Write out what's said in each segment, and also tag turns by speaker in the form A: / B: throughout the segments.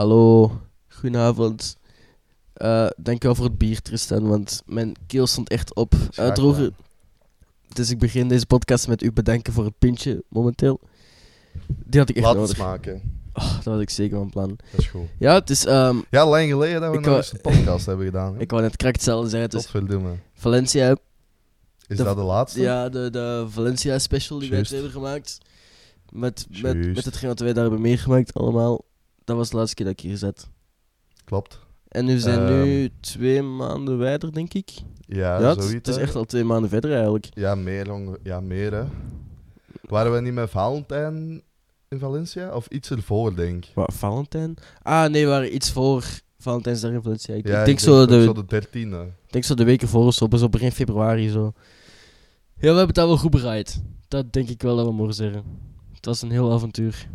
A: Hallo, goedenavond. Eh dankjewel voor het bier, Tristan, want mijn keel stond echt op.
B: Graag
A: Uitdrogen.
B: gedaan.
A: Dus ik begin deze podcast met u bedanken voor het pintje momenteel. Die had ik echt
B: Laat het
A: nodig.
B: smaken.
A: Oh, dat had ik zeker van plan.
B: Dat is goed.
A: Ja, het is. ehm,
B: Ja, lang geleden dat we
A: Ik
B: nog
A: wou-
B: eens een podcast hebben gedaan. hè.
A: ik wou net correct zelf zeggen.
B: Tot
A: Dus
B: veel doen, man.
A: Valencia,
B: Is
A: de-
B: dat de laatste?
A: ja, de, de Valencia special die wij
B: Juist.
A: wij hebben gemaakt. Met, met, met
B: Juist.
A: hetgeen wat wij daar hebben meegemaakt, allemaal. Dat was de laatste keer dat ik hier zat.
B: Klopt.
A: En nu zijn nu
B: Ehm.
A: twee maanden verder, denk ik.
B: Ja,
A: Ja, het,
B: zoiets.
A: het is
B: hè.
A: echt al twee maanden verder eigenlijk.
B: Ja, meer, jongen. Ja, meer, hè. Waren we niet met Valentijn in Valencia? Of iets ervoor, denk ik.
A: Wat, Valentijn? Ah, nee, we waren iets voor Valentijnsdag in Valencia. Ik,
B: Ja,
A: ik denk, zo
B: ook
A: de,
B: zo de dertiende.
A: denk zo de weken voor of zo, dus op begin februari zo. Ja, we hebben het daar wel goed bereid. Dat denk ik wel dat we mogen zeggen. Het was een heel avontuur.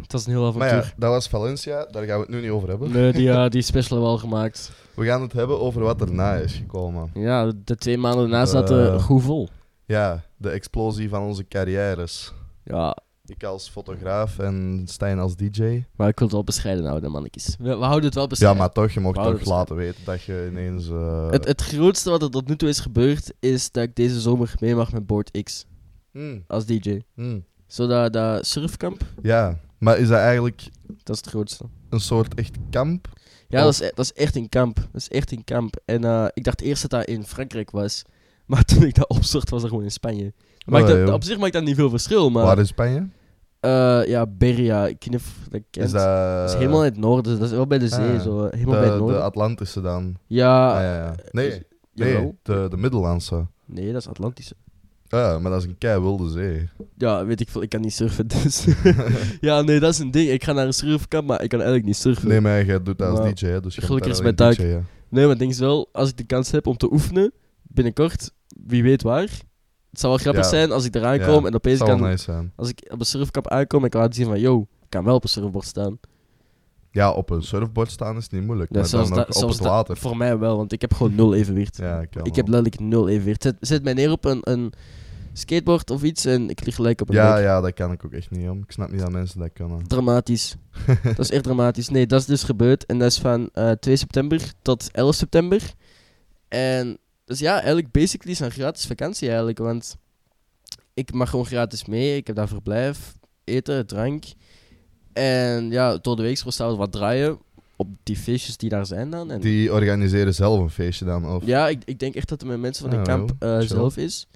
A: Het was een heel
B: Maar ja,
A: avontuur.
B: dat was Valencia. Daar gaan we het nu niet over hebben.
A: Nee, die, ja, die special hebben we al gemaakt.
B: We gaan het hebben over wat erna is gekomen.
A: Ja, de twee maanden daarna zaten
B: Eh.
A: goed vol.
B: Ja, de explosie van onze carrières.
A: Ja,
B: Ik als fotograaf en Stijn als DJ.
A: maar ik wil het wel bescheiden houden, mannetjes. We, we houden het wel
B: Ja,
A: bescheiden.
B: maar toch, je mocht
A: Wou
B: toch
A: dat zeggen.
B: laten weten dat je ineens. eh,
A: het, het grootste wat er tot nu toe is gebeurd, is dat ik deze zomer mee mag met Board X
B: Hmm,
A: als DJ.
B: hmm.
A: Zo dat, dat surfkamp,
B: Ja, maar is dat eigenlijk
A: dat is het grootste.
B: een soort echt kamp?
A: Ja, dat, is, e- dat is echt een kamp. Dat is echt een kamp. En eh, ik dacht eerst dat dat in Frankrijk was. Maar toen ik dat opzocht, was dat gewoon in Spanje. Maar
B: Nee, Oh, joh.
A: op zich maakt dat niet veel verschil, maar...
B: Waar in Spanje?
A: Eh, ja, Beria, ik weet niet of je dat kent.
B: Is dat. eh,
A: Dat is helemaal in het noorden, dat is wel bij de zee,
B: Ah,
A: zo. eh, Helemaal bij het
B: de, de
A: noorden.
B: Atlantische dan.
A: ja,
B: Ah, ja, ja.
A: dus-
B: Nee,
A: jawel.
B: nee de, de Middellandse.
A: Nee, dat is Atlantische.
B: Ja, maar dat is een kei wilde zee.
A: Ja, weet ik veel, ik kan niet surfen, dus... ja, nee, dat is een ding. Ik ga naar een surfkamp, maar ik kan eigenlijk niet surfen.
B: Nee, maar jij doet dat als
A: Maar
B: DJ, hè, dus je
A: gelukkig
B: moet
A: is
B: daar
A: mijn
B: alleen DJ'en.
A: Nee, maar het ding is wel, als ik de kans heb om te oefenen, binnenkort, wie weet waar. Het zou wel grappig
B: Ja.
A: zijn als ik eraan
B: Ja,
A: kom en opeens
B: Zou
A: kan...
B: wel nice zijn.
A: Als ik op een surfkamp aankom en ik kan laten zien van, yo, ik kan wel op een surfboard staan.
B: Ja, op een surfboard staan is niet moeilijk,
A: Ja,
B: maar dan
A: zelfs
B: nog
A: dat-
B: op
A: zelfs
B: het
A: dat-
B: water.
A: Voor mij wel, want ik heb gewoon nul evenwicht.
B: Ja, ik kan
A: ik
B: wel.
A: heb letterlijk nul evenwicht. Zet, zet mij neer op een, een skateboard of iets en ik lig gelijk op een
B: Ja,
A: nek.
B: ja, dat kan ik ook echt niet om. Ik snap niet dat mensen dat kunnen.
A: Dramatisch. dat is echt dramatisch. Nee, dat is dus gebeurd. En dat is van eh, 2 september tot 11 september. En dus ja, eigenlijk basically is het een gratis vakantie eigenlijk. Want ik mag gewoon gratis mee. Ik heb daar verblijf, eten, drank. En ja, door de week zou zelfs wat draaien op die feestjes die daar zijn dan. En
B: Die organiseren zelf een feestje dan, of...
A: Ja, ik, ik denk echt dat het met mensen van de
B: Ah,
A: kamp
B: wel,
A: eh,
B: chill.
A: zelf is.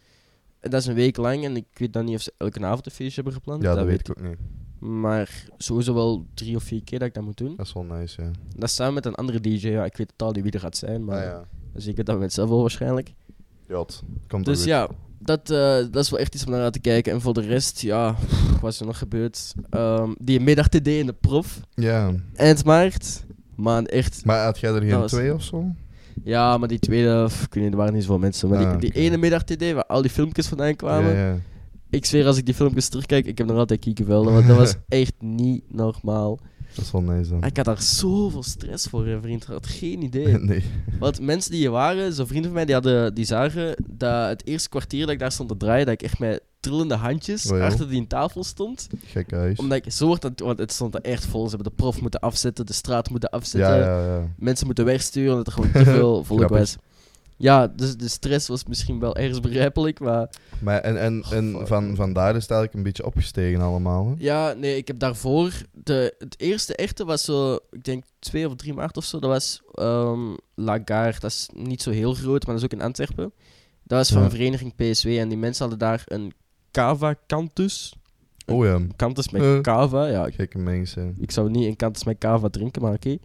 A: En dat is een week lang en ik weet dan niet of ze elke avond een feestje hebben gepland.
B: Ja, dat, weet ik ook niet.
A: Maar sowieso wel drie of vier keer dat ik dat moet doen.
B: Dat is wel nice, ja.
A: Dat is samen met een andere DJ. Ja, ik weet totaal niet wie er gaat zijn, maar
B: Maar
A: eh,
B: Ah, ja,
A: dus ik weet dat met zelf wel waarschijnlijk.
B: Jot, komt
A: Dus
B: er
A: ja, dat, eh, dat is wel echt iets om naar uit te kijken. En voor de rest, ja, wat is er nog gebeurd? Ehm, die middag TD in de prof,
B: goed. Ja,
A: eind maart. Man, echt.
B: maar had jij er geen
A: was-
B: twee of zo?
A: Ja, maar die tweede, pff, ik weet niet, er waren niet zoveel mensen. Maar die,
B: Ah,
A: die
B: oké.
A: ene middag TD, waar al die filmpjes vandaan kwamen.
B: Ja, ja.
A: Ik zweer, als ik die filmpjes terugkijk, ik heb nog altijd kiekenvelden, want dat was echt niet normaal.
B: Dat is wel nice dan.
A: Ik had daar zoveel stress voor, hè, vriend. Ik had geen idee.
B: nee.
A: Want mensen die hier waren, zo'n vrienden van mij, die, hadden, die zagen dat het eerste kwartier dat ik daar stond te draaien, dat ik echt met trillende handjes
B: Oh ja.
A: achter die tafel stond.
B: Gek huis.
A: Omdat ik zo hard aan- want het stond er echt vol. Ze hebben de prof moeten afzetten, de straat moeten afzetten,
B: Ja, ja, ja.
A: mensen moeten wegsturen, omdat er gewoon te veel volk
B: Grappig.
A: was. Ja, dus de stress was misschien wel ergens begrijpelijk, maar
B: Maar en, en, en
A: Oh, Fuck.
B: van, van daar is het eigenlijk een beetje opgestegen allemaal, hè?
A: Ja, nee, ik heb daarvoor... De, het eerste echte was zo, ik denk 2 of 3 maart of zo. Dat was ehm Lagarde. Dat is niet zo heel groot, maar dat is ook in Antwerpen. Dat was van
B: Ja.
A: vereniging PSW. En die mensen hadden daar een cava-cantus.
B: Oh ja,
A: Cantus met
B: Eh.
A: cava. Ja, ik,
B: gekke mensen.
A: ik zou niet een cantus met cava drinken, maar oké.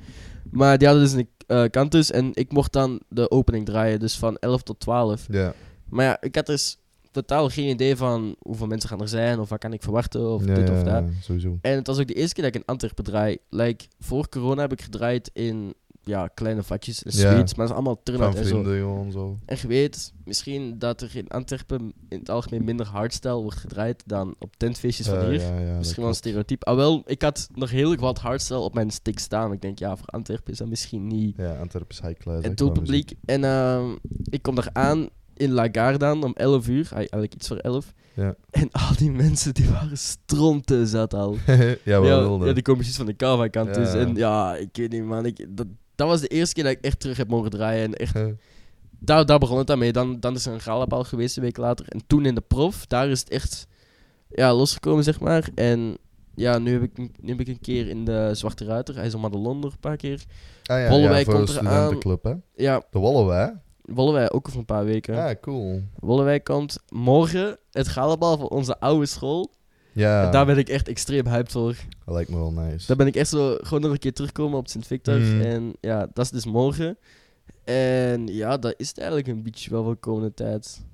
A: Maar die hadden dus een eh cantus. En ik mocht dan de opening draaien. Dus van 11 tot 12.
B: Ja,
A: Maar ja, ik had dus totaal geen idee van hoeveel mensen gaan er zijn. Of wat kan ik verwachten. Of
B: ja,
A: dit of
B: ja,
A: dat.
B: ja, sowieso.
A: En het was ook de eerste keer dat ik in Antwerpen draai. Like, voor corona heb ik gedraaid in ja, kleine vatjes en
B: Ja.
A: suites, maar dat is allemaal
B: Van
A: turnout en zo.
B: vrienden gewoon zo.
A: En je weet misschien dat er in Antwerpen in het algemeen minder hardstyle wordt gedraaid dan op tentfeestjes van
B: Eh,
A: hier.
B: ja, ja,
A: misschien
B: dat
A: wel een
B: klopt.
A: stereotype. Ah wel, ik had nog heel wat hardstyle op mijn stick staan. Ik denk, ja, voor Antwerpen is dat misschien niet
B: Ja, Antwerpen is high class. hè,
A: het
B: qua muziek.
A: doelpubliek. En ehm, ik kom daar aan in La Gardaan om 11 uur, ai, eigenlijk iets voor 11.
B: Ja.
A: En al die mensen die waren stronten zat al.
B: ja, wel
A: ja,
B: wilde.
A: ja, die komen precies van de kava kant.
B: Ja.
A: Dus. En ja, ik weet niet man, ik, dat, dat was de eerste keer dat ik echt terug heb mogen draaien. En echt, daar, daar begon het dan mee. Dan, dan is er een galapaal geweest een week later. En toen in de prof, daar is het echt ja, losgekomen zeg maar. En ja, nu heb, ik, een- nu heb ik een keer in de Zwarte Ruiter, IJsselmadelonder een paar keer.
B: Ah, ja,
A: Wollewijk
B: ja, voor
A: komt
B: de
A: eraan.
B: studentenclub, hè?
A: Ja,
B: De Wollewij.
A: Wollewij ook over een paar weken.
B: Ja, ah, cool.
A: Wollewijk komt morgen het galabal van onze oude school.
B: Ja,
A: En daar ben ik echt extreem hyped voor.
B: dat lijkt me wel nice.
A: Daar ben ik echt zo gewoon nog een keer terugkomen op Sint-Victor.
B: Mhm.
A: En ja, dat is dus morgen. En ja, dat is het eigenlijk een beetje wel voor de komende tijd.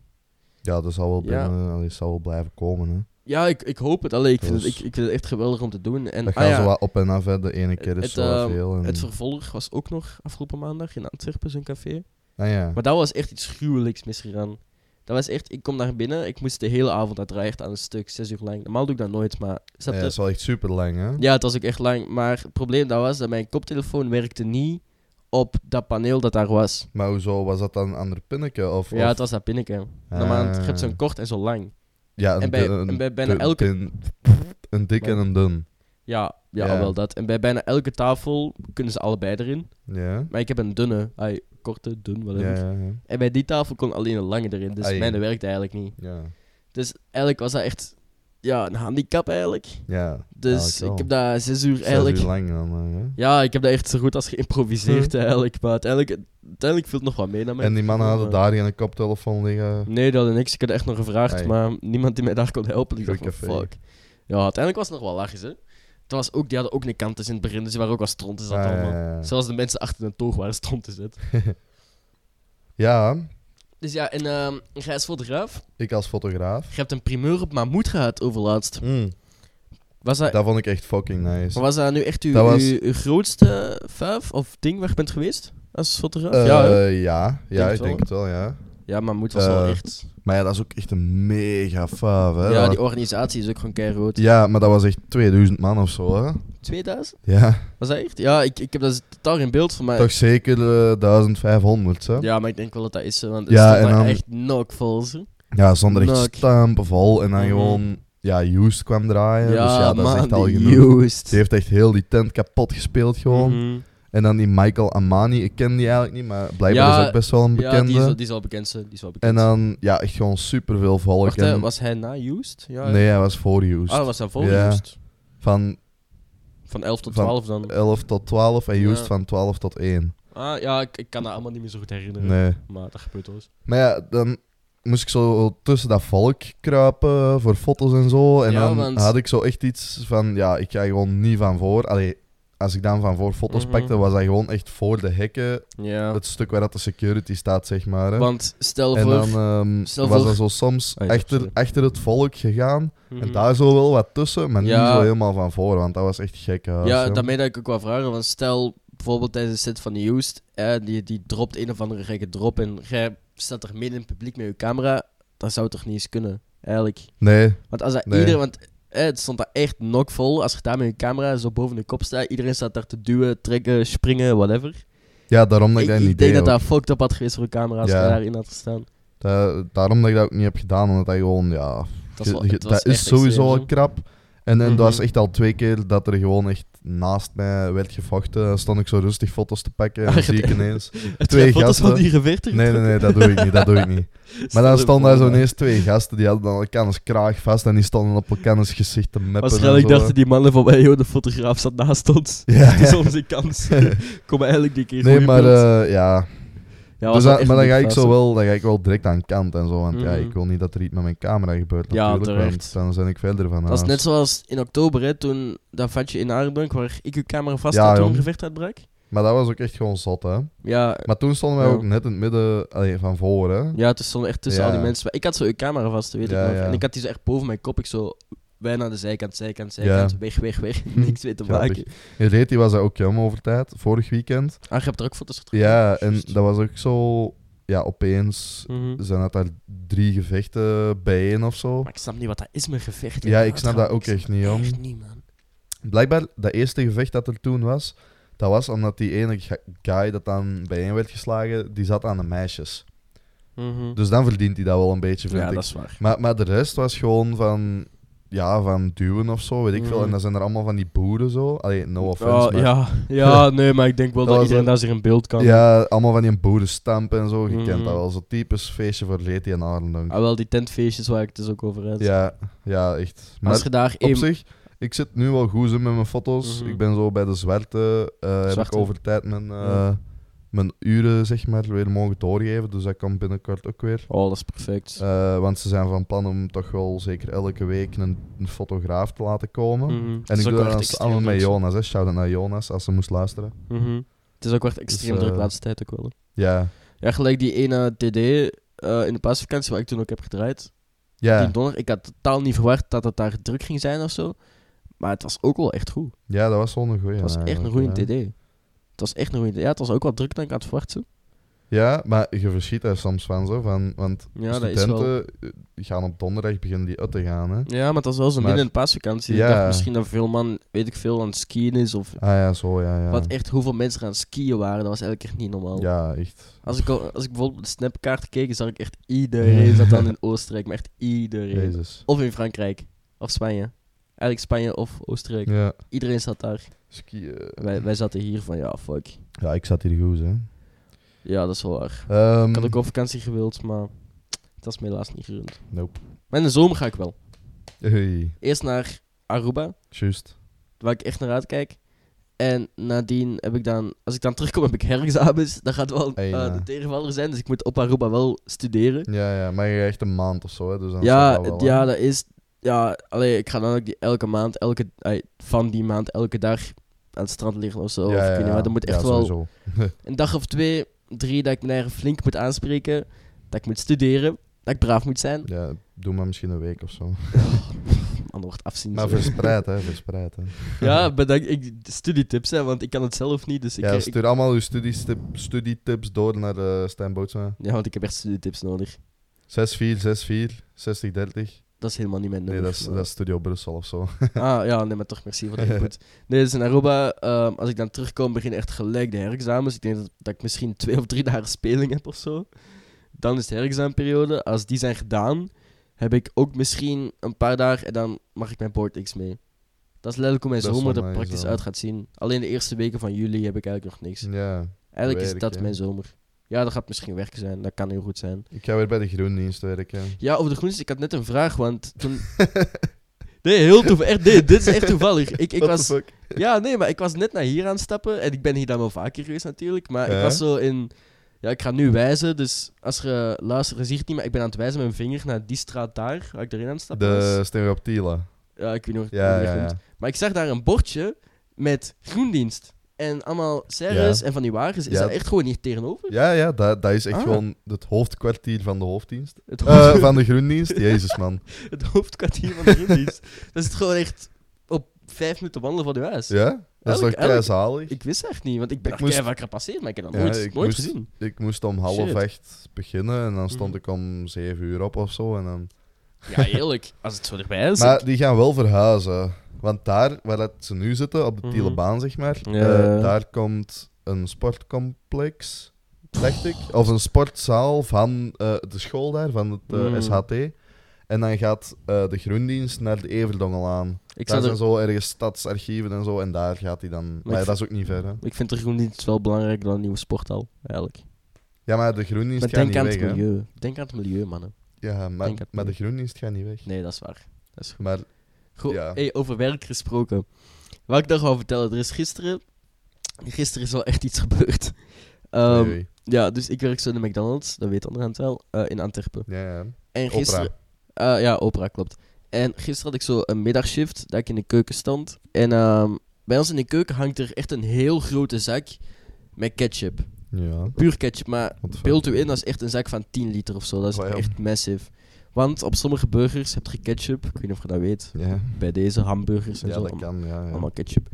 B: Ja, dat zal wel,
A: Ja.
B: binnen, eh, allee, dat zal wel blijven komen, hè?
A: Ja, ik, ik hoop het. Allee, ik vind het,
B: Dus-
A: ik, ik vind het echt geweldig om te doen. En
B: dat
A: ah
B: gaat
A: ja,
B: zo wat op en af, hè. De ene keer is
A: Het,
B: zo wat
A: ehm,
B: veel. En...
A: het vervolg was ook nog afgelopen maandag in Antwerpen, zo'n café.
B: ah, ja.
A: Maar dat was echt iets gruwelijks misgegaan. Dat was echt, ik kom daar binnen, ik moest de hele avond uitdraaien echt aan een stuk, zes uur lang. Normaal doe ik dat nooit, maar...
B: Ja,
A: snap
B: dat
A: je?
B: is wel echt super lang, hè?
A: Ja, het was ook echt lang. Maar het probleem dat was dat mijn koptelefoon werkte niet op dat paneel dat daar was.
B: Maar hoezo? Was dat dan een ander pinneke? Of, Ah.
A: Ja,
B: of...
A: het was dat pinneke. Normaal heb je hebt zo'n kort en zo lang.
B: Ja,
A: en bij- en bij bijna
B: dun-
A: elke-
B: dun- een dik en een dun.
A: Ja, ja,
B: Ja.
A: wel dat. En bij bijna elke tafel kunnen ze allebei erin.
B: Ja.
A: Maar ik heb een dunne, ai, korte, dun,
B: Ja,
A: whatever.
B: ja, ja.
A: En bij die tafel kon alleen een lange erin. Dus
B: Ai.
A: mijn werkte eigenlijk niet.
B: Ja,
A: Dus eigenlijk was dat echt ja, een handicap eigenlijk.
B: ja.
A: Dus
B: Eigenlijk wel.
A: ik heb daar zes uur
B: Ah, Zes
A: eigenlijk...
B: uur lang dan, eh, hè?
A: Ja, ik heb dat echt zo goed als geïmproviseerd
B: Hm.
A: eigenlijk. Maar uiteindelijk, uiteindelijk viel het nog wat mee naar mij.
B: En die mannen hadden
A: Maar-
B: daar een koptelefoon liggen.
A: Nee, dat had niks. Ik had echt nog gevraagd,
B: Ai.
A: maar niemand die mij daar kon helpen. Ik dacht van,
B: Goed café.
A: fuck. Ja, uiteindelijk was het nog wel lachjes, hè. Het was ook, die hadden ook een kant in het begin, dus die waren ook wat strontes aan
B: Ah,
A: het
B: ja,
A: allemaal.
B: ja, ja.
A: Zelfs de mensen achter de toog waren strontes, hè.
B: Ja,
A: Dus ja, en ehm Gijs Fotograaf,
B: ik als fotograaf.
A: je hebt een primeur op Mahmoud gehad overlaatst.
B: Mm,
A: Was dat,
B: dat vond ik echt fucking nice.
A: was dat nu echt uw,
B: Dat was-
A: uw, uw grootste vuif of ding waar je bent geweest als fotograaf?
B: Eh,
A: ja, hè?
B: ja, ja,
A: Denk het
B: ik
A: wel,
B: denk het wel, ja.
A: ja, Mahmoud was wel
B: eh,
A: echt...
B: Maar ja, dat is ook echt een mega faaf, hè.
A: Ja,
B: Dat
A: die
B: was-
A: organisatie is ook gewoon keihard.
B: ja, maar dat was echt 2000 man of zo, hè.
A: 2000?
B: Ja,
A: Was dat echt? Ja, ik, ik heb dat totaal geen beeld van, maar...
B: toch zeker eh, 1500, hè. Ja,
A: Ja, maar ik denk wel dat dat is, hè, want het
B: Ja,
A: stond
B: en
A: daar
B: dan-
A: echt knockvol. zo.
B: zonder echt
A: Nak.
B: stampen vol. En dan
A: Mhm.
B: gewoon, ja, Used kwam draaien. dus ja, dat
A: man,
B: is echt al
A: die
B: genoeg.
A: used.
B: Die heeft echt heel die tent kapot gespeeld, gewoon.
A: Mhm.
B: En dan die Michael Amani, ik ken die eigenlijk niet, maar blijkbaar
A: Ja,
B: is ook best wel
A: Ja,
B: een bekende.
A: die is, al- die is al bekend, ze. Die is wel
B: En
A: bekend.
B: dan, ja, echt gewoon superveel volk.
A: Wacht,
B: en-
A: hè, was hij na used? Ja, hè.
B: Nee, hij was voor Used.
A: Ah, dat was dat voor
B: Ja.
A: used?
B: Van
A: Van 11 tot
B: Van- Eh.
A: 12 dan.
B: 11 tot 12 en Used
A: Ja.
B: van 12 tot 1.
A: Ah, ja, ik, ik kan dat allemaal niet meer zo goed herinneren.
B: Nee.
A: Maar dat gebeurt wel eens.
B: Maar ja, dan moest ik zo tussen dat volk kruipen voor foto's en zo. En
A: Ja,
B: dan
A: want-
B: had ik zo echt iets van, ja, ik ga gewoon niet van voor. Allee, als ik dan van voor foto's
A: Mhm.
B: pakte, was dat gewoon echt voor de hekken.
A: Ja,
B: Het stuk waar dat de security staat, zeg maar. Hè.
A: want stel
B: En
A: voor...
B: dan ehm,
A: stel
B: was
A: voor-
B: dat zo soms
A: Ah, ja,
B: achter,
A: sorry.
B: achter het volk gegaan.
A: Mhm.
B: En daar zo wel wat tussen, maar
A: Ja.
B: niet zo helemaal van voor, want dat was echt gek. hè,
A: Ja,
B: zo.
A: daarmee dat ik ook wel vragen, want stel bijvoorbeeld tijdens de set van de Used, eh, die, die dropt een of andere gekke drop en jij staat er midden in het publiek met je camera, dat zou toch niet eens kunnen, eigenlijk.
B: Nee,
A: Want als dat
B: Nee.
A: ieder, want eh, het stond daar echt nokvol, als je daar met je camera zo boven de kop staat, iedereen staat daar te duwen, trekken, springen, whatever.
B: ja, daarom dat ik,
A: ik
B: dat
A: ik
B: niet
A: denk
B: deed.
A: dat
B: ook.
A: dat fucked up had geweest voor een camera als je
B: Ja.
A: daarin had gestaan.
B: Da- daarom dat ik dat ook niet heb gedaan, omdat dat gewoon, ja,
A: Dat is, wel,
B: je- je-
A: het was
B: dat is
A: echt
B: sowieso al
A: extreem, zo.
B: krap. En, en
A: Mhm.
B: dat was echt al twee keer dat er gewoon echt naast mij werd gevochten. Dan stond ik zo rustig foto's te pakken en
A: Ah,
B: dan zie ik
A: gedaan.
B: ineens...
A: Het
B: twee
A: zijn foto's
B: gasten.
A: van die gevechten.
B: Nee, nee, nee, dat doe ik niet, dat doe ik niet. Maar dan stonden daar zo ineens twee gasten, die hadden dan elkaars kraag vast en die stonden op elkaars gezicht te meppen. en
A: Waarschijnlijk
B: zo.
A: dachten die mannen van mij, joh, de fotograaf zat naast ons.
B: Ja,
A: Het is
B: ja.
A: onze kans. Kom eigenlijk die keer
B: Nee,
A: goeie
B: maar
A: beeld.
B: eh, ja,
A: Ja, was
B: dus
A: wel
B: dat-
A: echt
B: maar dan
A: een
B: ga, ik
A: fase.
B: zo wel, dan ga ik wel direct aan kant en zo. Want ja,
A: Mhm.
B: ik wil niet dat er iets met mijn camera gebeurt.
A: Ja,
B: Natuurlijk,
A: terecht.
B: want dan zijn ik verder van.
A: Dat is
B: huis.
A: net zoals in oktober, hè, toen dat vatje in Aardbank, waar ik uw camera vast
B: Ja,
A: had toen
B: jong.
A: een gevecht uitbrak.
B: Maar dat was ook echt gewoon zot, hè?
A: Ja,
B: Maar toen stonden wij
A: Ja.
B: ook net in het midden allee, van voren. hè.
A: ja, toen stonden echt tussen
B: Ja.
A: al die mensen. Maar ik had zo uw camera vast, weet
B: Ja,
A: ik nog.
B: ja.
A: En ik had die zo echt boven mijn kop. Ik zo, wij naar de zijkant, zijkant, zijkant,
B: Ja. Hm.
A: weg, weg, weg. Niks mee te
B: Grappig.
A: maken.
B: In Reet die was dat ook jam over tijd, vorig weekend.
A: Ah, je hebt er ook foto's getrokken.
B: Ja, en
A: Juist.
B: dat was ook zo. Ja, opeens
A: Mhm.
B: zijn dat daar drie gevechten bijeen of zo.
A: Maar ik snap niet wat dat is met gevechten.
B: Ja,
A: man.
B: ik snap dat ook
A: snap
B: echt niet, jong.
A: Echt niet, man.
B: Blijkbaar, dat eerste gevecht dat er toen was, dat was omdat die ene ga- guy dat dan bijeen werd geslagen, die zat aan de meisjes.
A: Mhm.
B: Dus dan verdient hij dat wel een beetje, vind
A: ja,
B: ik.
A: dat is waar.
B: Maar, maar de rest was gewoon van... Ja, van duwen of zo, weet ik veel.
A: Mhm.
B: En dan zijn er allemaal van die boeren zo. Allee, no offense,
A: Oh,
B: maar...
A: ja, ja, nee, maar ik denk wel
B: Dat
A: dat,
B: was
A: iedereen
B: wel-
A: daar zich een beeld kan.
B: Ja, allemaal van die boerenstampen en zo. Je
A: Mhm.
B: kent dat wel. Zo'n typisch feestje voor Leti en Arendonk.
A: Ah, wel, die tentfeestjes waar ik het dus ook over had.
B: Ja, ja, echt.
A: Als
B: Maar
A: je daar
B: op
A: één...
B: zich, ik zit nu wel goed zo met mijn foto's.
A: Mhm.
B: Ik ben zo bij de zwarte. eh, Heb ik
A: Zwarte.
B: over tijd mijn, eh,
A: Ja.
B: mijn uren zeg maar, weer mogen doorgeven. Dus dat kan binnenkort ook weer.
A: Oh, dat is perfect.
B: Eh, want ze zijn van plan om toch wel zeker elke week een, een fotograaf te laten komen.
A: Mhm. Het
B: En
A: is
B: ik
A: ook
B: doe
A: wel
B: dat dan
A: echt
B: samen
A: extreem
B: met
A: druk.
B: Jonas. hè. Shout-out naar Jonas als ze moest luisteren.
A: Mhm. Het is ook wel echt extreem
B: eh,
A: druk de laatste tijd ook wel. hè.
B: Ja.
A: Ja, gelijk die ene TD eh, in de paasvakantie waar ik toen ook heb gedraaid.
B: Ja,
A: Die donder, ik had totaal niet verwacht dat het daar druk ging zijn of zo. Maar het was ook wel echt goed.
B: ja, dat was wel een goeie.
A: Het was echt een
B: eigenlijk,
A: goede
B: ja.
A: TD. Het was echt een goede TD. Ja, het was ook wat druk dan ik had verwacht. zo.
B: Ja, maar je verschiet daar soms van zo. Van, want
A: Ja, dat is
B: studenten
A: wel.
B: eh, gaan op donderdag beginnen die uit te gaan. Hè?
A: Ja, maar het was wel zo midden
B: Maar-
A: in de paasvakantie.
B: Ja.
A: Ik dacht misschien dat veel man, weet ik veel, aan het skiën is. Of
B: Ah ja, zo ja. ja.
A: wat echt hoeveel mensen er aan het skiën waren. Dat was eigenlijk echt niet normaal.
B: Ja, echt.
A: Als, ik, al- als ik bijvoorbeeld op de snapkaart keek, zag ik echt iedereen zat dan in Oostenrijk. Maar echt iedereen.
B: Jezus.
A: Of in Frankrijk. Of Spanje. Eigenlijk Spanje of Oostenrijk.
B: Ja.
A: Iedereen zat daar.
B: Skiën.
A: Wij, wij zaten hier van, ja, fuck.
B: Ja, ik zat hier goed, hè.
A: Ja, dat is wel waar.
B: Ehm,
A: Ik had ook op vakantie gewild, maar dat is me helaas niet gerund.
B: Nope.
A: Maar in de zomer ga ik wel.
B: Hey,
A: Eerst naar Aruba,
B: juist.
A: waar ik echt naar uitkijk. En nadien heb ik dan, als ik dan terugkom, heb ik herexamens. Dat gaat wel
B: Hey,
A: eh,
B: ja.
A: de tegenvaller zijn, dus ik moet op Aruba wel studeren.
B: Ja, ja, maar je krijgt een maand of zo, hè. Dus dan
A: Ja,
B: staat dat wel,
A: het-
B: hè.
A: ja, dat is. Ja, alleen ik ga dan ook die elke maand, elke, ai, van die maand, elke dag aan het strand liggen of zo. of ik weet niet, maar dat moet
B: Ja,
A: echt wel
B: sowieso.
A: een dag of twee, drie dat ik mijn eigen flink moet aanspreken. Dat ik moet studeren. Dat ik braaf moet zijn. Oh,
B: Ja, doe maar misschien een week of zo.
A: Man, wordt afzien.
B: Maar
A: zo.
B: verspreid, hè. Verspreid, hè.
A: ja, bedankt. Ik, studietips, hè, want ik kan het zelf niet. Dus ik,
B: Ja,
A: ik-
B: stuur allemaal uw studiestip- studietips door naar eh Stijn Bootsma.
A: ja, want ik heb echt studietips nodig.
B: 6-4, 6-4, 60-30.
A: Dat is helemaal niet mijn
B: Nee,
A: nummer.
B: dat is, dat is Studio Brussel of zo.
A: Ah, ja, nee, maar toch, merci voor de input. Nee, dus in Aruba, ehm, als ik dan terugkom, beginnen echt gelijk de herexamens. Ik denk dat, dat ik misschien twee of drie dagen speling heb of zo. Dan is de herexamenperiode. Als die zijn gedaan, heb ik ook misschien een paar dagen en dan mag ik mijn Board X mee. Dat is letterlijk hoe mijn
B: Dat is
A: zomer
B: wel
A: er
B: nice,
A: praktisch
B: ja.
A: uit gaat zien. Alleen de eerste weken van juli heb ik eigenlijk nog niks.
B: Hmm. Ja,
A: Eigenlijk is
B: werk,
A: dat
B: hè.
A: mijn zomer. Ja, dat gaat misschien werken zijn. Dat kan heel goed zijn.
B: ik ga weer bij de Groendienst werken.
A: Ja, over de groentes. Ik had net een vraag, want toen... Nee, heel toevallig. Echt, nee, dit is echt toevallig. Ik, ik
B: What the
A: was...
B: fuck?
A: Ja, nee, maar ik was net naar hier aan het stappen. En ik ben hier dan wel vaker geweest natuurlijk. Maar ik
B: Ja.
A: was zo in... Ja, ik ga nu wijzen. Dus als je luistert, je ziet het niet. Maar ik ben aan het wijzen met mijn vinger naar die straat daar. Waar ik erin aan het stappen
B: De
A: was.
B: Stereoptila.
A: Ja, ik weet niet hoe het
B: Ja,
A: hoe het
B: ja,
A: noemt.
B: ja.
A: Maar ik zag daar een bordje met groendienst. En allemaal serres en van die wagens. Is
B: Ja.
A: dat echt gewoon hier tegenover?
B: Ja, ja, dat, dat is echt
A: Ah.
B: gewoon het hoofdkwartier van de hoofddienst.
A: Het,
B: Eh, van de groendienst, jezus man.
A: het hoofdkwartier van de groendienst. dat is het gewoon echt op vijf minuten wandelen van de huis.
B: Ja? Dat is toch
A: Elk- elk-
B: keizalig?
A: Ik wist echt niet, want ik ben
B: Ik
A: ik
B: moest-
A: moest... vaak gepasseerd, maar ik heb dat
B: Ja,
A: nooit,
B: ik
A: nooit
B: moest-
A: gezien.
B: Ik moest om half
A: Shit.
B: acht beginnen en dan stond
A: Mhm.
B: ik om zeven uur op of zo. En dan...
A: Ja, eerlijk, als het zo erbij is.
B: Maar die gaan wel verhuizen. Want daar waar dat ze nu zitten, op de
A: Mhm.
B: Tielebaan zeg maar,
A: Ja,
B: eh,
A: ja, ja.
B: daar komt een sportcomplex, dacht ik. Of een sportzaal van eh, de school daar, van het eh,
A: Mhm.
B: SHT. En dan gaat eh, de groendienst naar de Everdongel aan.
A: ik,
B: daar
A: zou
B: zijn
A: er,
B: zo ergens stadsarchieven en zo, en daar gaat hij dan. Maar ja,
A: ik-
B: dat is ook niet ver, hè.
A: ik vind de groendienst wel belangrijker dan een nieuwe sporthal, eigenlijk.
B: Ja, maar de groendienst
A: Maar
B: gaat
A: denk
B: niet
A: aan
B: weg,
A: het
B: hè.
A: milieu. Denk aan het milieu, mannen.
B: Ja, maar,
A: Denk aan het
B: maar de
A: milieu.
B: groendienst gaat niet weg.
A: Nee, dat is waar. Dat is goed.
B: Maar
A: Goed,
B: Ja.
A: hey, over werk gesproken. Wat ik nog wou vertellen, er is gisteren... Gisteren is wel echt iets gebeurd. Ehm,
B: oei, oei.
A: Ja, dus ik werk zo in de McDonald's, dat weet onderhand wel, eh, in Antwerpen.
B: ja, ja.
A: En
B: Opera.
A: gisteren... Eh, ja, opera, klopt. En gisteren had ik zo een middagshift dat ik in de keuken stond. En ehm, bij ons in de keuken hangt er echt een heel grote zak met ketchup.
B: Ja.
A: Puur ketchup, maar
B: Wat fuck.
A: beeld u in, dat is echt een zak van 10 liter of zo. Dat is
B: Wauw.
A: echt massive. Want op sommige burgers heb je ketchup. Ik weet niet of je dat weet.
B: Ja,
A: Bij deze hamburgers en
B: ja
A: zo.
B: dat
A: allemaal-
B: kan, ja. ja.
A: Allemaal ketchup.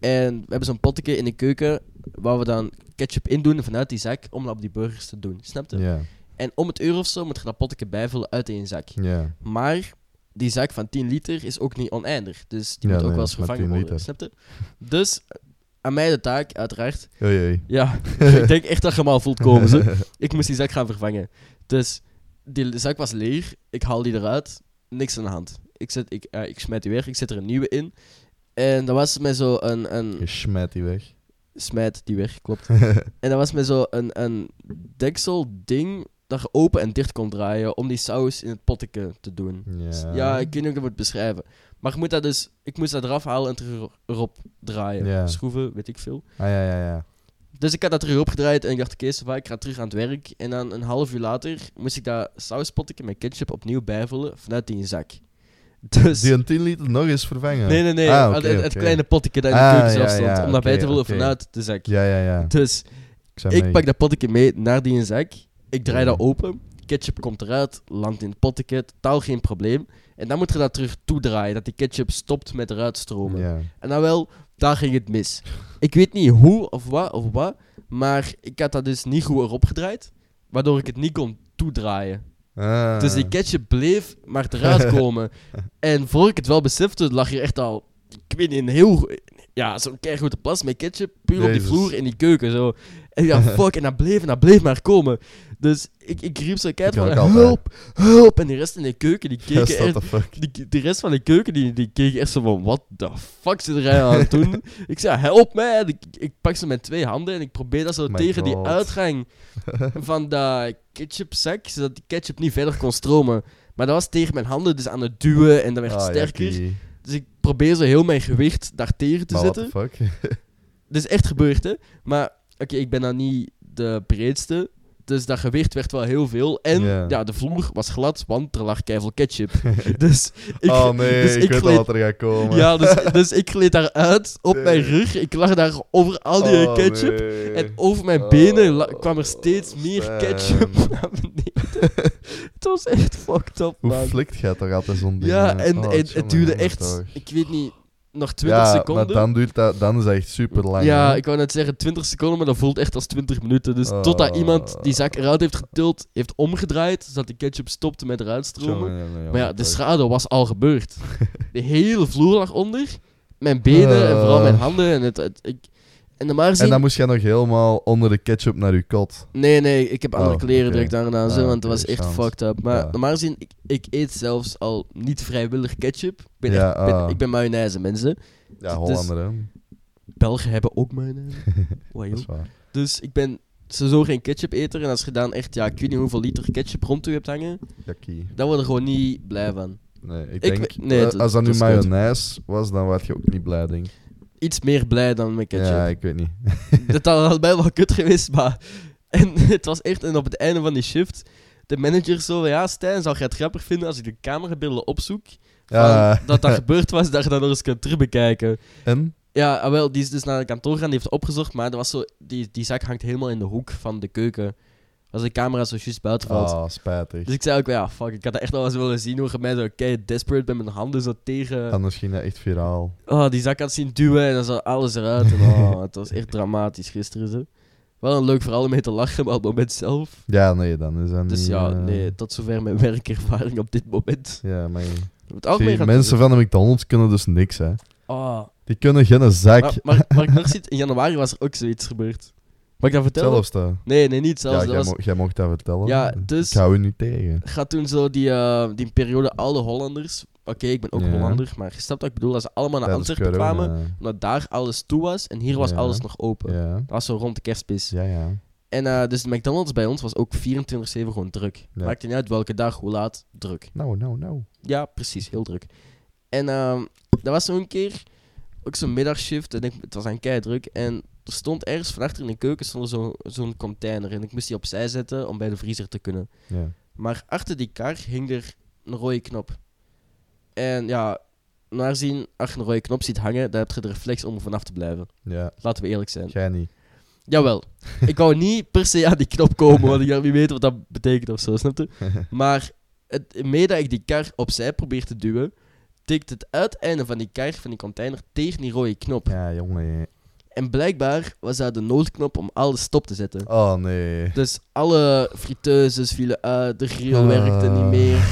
A: En we hebben zo'n potje in de keuken waar we dan ketchup in doen vanuit die zak om dat op die burgers te doen. Snap je?
B: Ja,
A: En om het euro of zo moet je dat potje bijvullen uit één zak.
B: ja.
A: Maar die zak van 10 liter is ook niet oneindig. Dus die
B: Ja,
A: moet ook
B: nee,
A: wel eens
B: maar
A: vervangen
B: 10
A: worden.
B: liter.
A: Snap je? Dus aan mij de taak, uiteraard.
B: Oei, oei.
A: Ja, ik denk echt dat je hem al voelt komen. Zo. Ik moest die zak gaan vervangen. Dus die zak was leeg. Ik haal die eruit. Niks aan de hand. Ik, zet, ik, eh, ik smijt die weg. Ik zet er een nieuwe in. En dat was met zo een...
B: Je
A: een
B: smijt die weg.
A: smijt die weg, klopt. en dat was met zo een, een deksel ding dat je open en dicht kon draaien om die saus in het potje te doen.
B: Ja.
A: Ja, ik weet niet hoe ik dat moet beschrijven. Maar ik, moet dat dus, ik moest dat eraf halen en terug erop draaien.
B: Ja.
A: Schroeven, weet ik veel.
B: Ah, ja, ja, ja.
A: Dus ik had dat terug opgedraaid en ik dacht, oké, okay, ik ga terug aan het werk. En dan een half uur later moest ik dat sauspottetje met ketchup opnieuw bijvullen vanuit die zak. Dus...
B: Die een 10 liter nog eens vervangen.
A: Nee, nee, nee.
B: Ah,
A: het-
B: oké,
A: het, het
B: oké.
A: kleine potje dat in de
B: Ah,
A: keuken zelf
B: ja,
A: stond.
B: ja,
A: om dat bij
B: oké,
A: te vullen
B: oké.
A: vanuit de zak.
B: Ja, ja, ja.
A: Dus
B: zijn
A: ik
B: mee.
A: pak dat potje mee naar die zak. Ik draai
B: Ja.
A: dat open. Ketchup komt eruit, landt in het potje, totaal geen probleem. En dan moet je dat terug toedraaien, dat die ketchup stopt met eruit stromen.
B: Ja.
A: En dan wel, daar ging het mis. Ik weet niet hoe of wat of wat, maar ik had dat dus niet goed erop gedraaid, waardoor ik het niet kon toedraaien.
B: Ah.
A: Dus die ketchup bleef maar eruit komen. en voor ik het wel besefte, lag hier echt al, ik weet niet, een heel, go- ja, zo'n keigoede plas met ketchup, puur op die
B: Jezus.
A: vloer in die keuken, zo. En ik dacht, fuck, en dat bleef en dat bleef maar komen. Dus ik, ik riep zo keihard
B: Ik
A: van,
B: ook altijd.
A: hulp, hulp. En de rest in de keuken, die
B: Ja,
A: keken
B: what
A: echt
B: the fuck.
A: die, de rest van de keuken die, die keek echt zo van, wat de fuck zit er aan het doen? ik zei, help mij! En Ik, ik pak ze met twee handen en ik probeer dat zo
B: Oh My
A: tegen die
B: God.
A: uitgang van dat ketchupzak, zodat die ketchup niet verder kon stromen. Maar dat was tegen mijn handen, dus aan het duwen en dat werd
B: Ah,
A: sterker.
B: jackie.
A: dus ik probeer zo heel mijn gewicht daar tegen te
B: Maar what
A: zetten.
B: the fuck.
A: Dat is echt gebeurd, hè. Maar, oké, ik ben dan niet de breedste. Dus dat gewicht werd wel heel veel. En
B: Ja.
A: ja, de vloer was glad, want er lag keiveel ketchup. dus ik,
B: oh nee,
A: dus
B: ik,
A: ik
B: weet
A: gleed-
B: al wat er gaat komen.
A: ja, dus, dus ik gleed daaruit op mijn
B: Nee.
A: rug. Ik lag daar over al die
B: Oh,
A: ketchup.
B: nee.
A: En over mijn
B: Oh,
A: benen la- kwam er steeds meer
B: Sam.
A: ketchup naar beneden. het was echt fucked up,
B: Hoe
A: man.
B: flikt jij toch altijd zo'n ding?
A: Ja,
B: hè?
A: en,
B: Oh,
A: en
B: jongen,
A: het duurde
B: jongen,
A: echt,
B: toch.
A: ik weet niet, nog 20
B: Ja,
A: seconden.
B: maar dan, duurt dat, dan is dat echt super lang.
A: ja, ik wou net zeggen 20 seconden, maar dat voelt echt als 20 minuten. Dus
B: Oh.
A: totdat iemand die zak eruit heeft getild, heeft omgedraaid, zodat de ketchup stopte met eruit stromen. Maar ja, de schade was al gebeurd. De hele vloer lag onder. Mijn benen en vooral mijn handen. En, het, het- ik, en normaal gezien...
B: Eh. En dan moest jij nog helemaal onder de ketchup naar je kot.
A: Nee, nee, ik heb andere
B: Oh,
A: kleren
B: oké.
A: direct daarna. zo,
B: Ah,
A: want het was
B: oké,
A: echt
B: chance.
A: fucked up. Maar
B: Ja.
A: normaal gezien, ik, ik eet zelfs al niet vrijwillig ketchup. Ik ben,
B: Ja,
A: echt, ik ben-
B: ah.
A: ik ben mayonaise, mensen.
B: Ja,
A: Dus-
B: Hollander, hè.
A: Belgen hebben ook mayonaise. Wai, joh.
B: Dat is waar.
A: dus ik ben sowieso geen ketchup-eter. En als je dan echt, ja, ik weet niet hoeveel liter ketchup rond u hebt hangen,
B: Jakkie.
A: dan word je gewoon niet blij van.
B: Nee, ik
A: Ik
B: denk...
A: weet- nee,
B: eh,
A: dat-
B: als dat nu
A: dat is goed.
B: mayonaise was, dan werd je ook niet blij, denk ik.
A: Iets meer blij dan met ketchup.
B: Ja, ik weet niet.
A: dat had bij wel kut geweest, maar... En het was echt... En op het einde van die shift... De manager zo... Ja, Stijn, zou jij het grappig vinden als ik de camerabeelden opzoek? Van
B: Ja.
A: Dat dat gebeurd was, dat je dat nog eens kunt terugbekijken.
B: En?
A: Ja, ah, wel, die is dus naar de kantoor gaan, die heeft opgezocht, maar er was zo, die, die zak hangt helemaal in de hoek van de keuken. Als de camera zo juist buiten valt.
B: Ah, spijtig.
A: Dus ik zei ook, ja, fuck, ik had dat echt wel eens willen zien, hoe je mij zo kei desperate met mijn handen zo tegen...
B: Anders ging dat echt viraal.
A: Oh, die zak had zien duwen en dan zat alles eruit. En, oh, het was echt dramatisch gisteren. Zo. Wel een leuk verhaal om mee te lachen, maar op het moment zelf.
B: Ja, nee, dan is dat
A: Dus
B: niet...
A: ja,
B: eh,
A: nee, tot zover mijn werkervaring op dit moment.
B: Ja, maar...
A: Op het algemeen
B: Zie,
A: gaat
B: mensen van de McDonald's kunnen dus niks, hè.
A: Oh.
B: Die kunnen geen zak.
A: Maar, maar, maar ik nog ziet, in januari was er ook zoiets gebeurd. Mag ik dat vertellen?
B: zelfs dat.
A: Nee, nee, niet zelfs.
B: ja, jij,
A: dat was,
B: mo- jij mocht dat vertellen.
A: Ja, dus-
B: Ik hou u niet tegen.
A: gaat toen zo die, eh, die periode alle Hollanders... Oké, ik ben ook
B: Ja.
A: Hollander, maar je snapt wat ik bedoel. Dat ze allemaal naar
B: Tijdens
A: Antwerpen
B: corona.
A: kwamen, omdat daar alles toe was en hier was
B: Ja.
A: alles nog open.
B: Ja,
A: Dat was zo rond de kerstmis.
B: ja, ja.
A: En eh, dus de McDonald's bij ons was ook 24-7 gewoon druk.
B: Ja.
A: Maakt niet uit welke dag, hoe laat, druk.
B: Nou, nou, nou.
A: Ja, precies, heel druk. En ehm dat was zo'n keer, ook zo'n middagshift, en ik, het was aan kei druk. En er stond ergens van achter in de keuken stond er zo- zo'n container. En ik moest die opzij zetten om bij de vriezer te kunnen.
B: Ja.
A: Maar achter die kar hing er een rode knop. En ja, naar zien, als je een rode knop ziet hangen, dan heb je de reflex om er vanaf te blijven.
B: Ja,
A: Laten we eerlijk zijn.
B: jij niet.
A: Jawel. ik wou niet per se aan die knop komen, want ik had niet weten wat dat betekent of zo, snap je? Maar het, mee dat ik die kar opzij probeer te duwen, tikt het uiteinde van die kar, van die container, tegen die rode knop.
B: Ja, jongen.
A: En blijkbaar was dat de noodknop om alles stop te zetten.
B: Oh, nee.
A: Dus alle friteuses vielen uit, de grill werkte
B: Ah.
A: niet meer.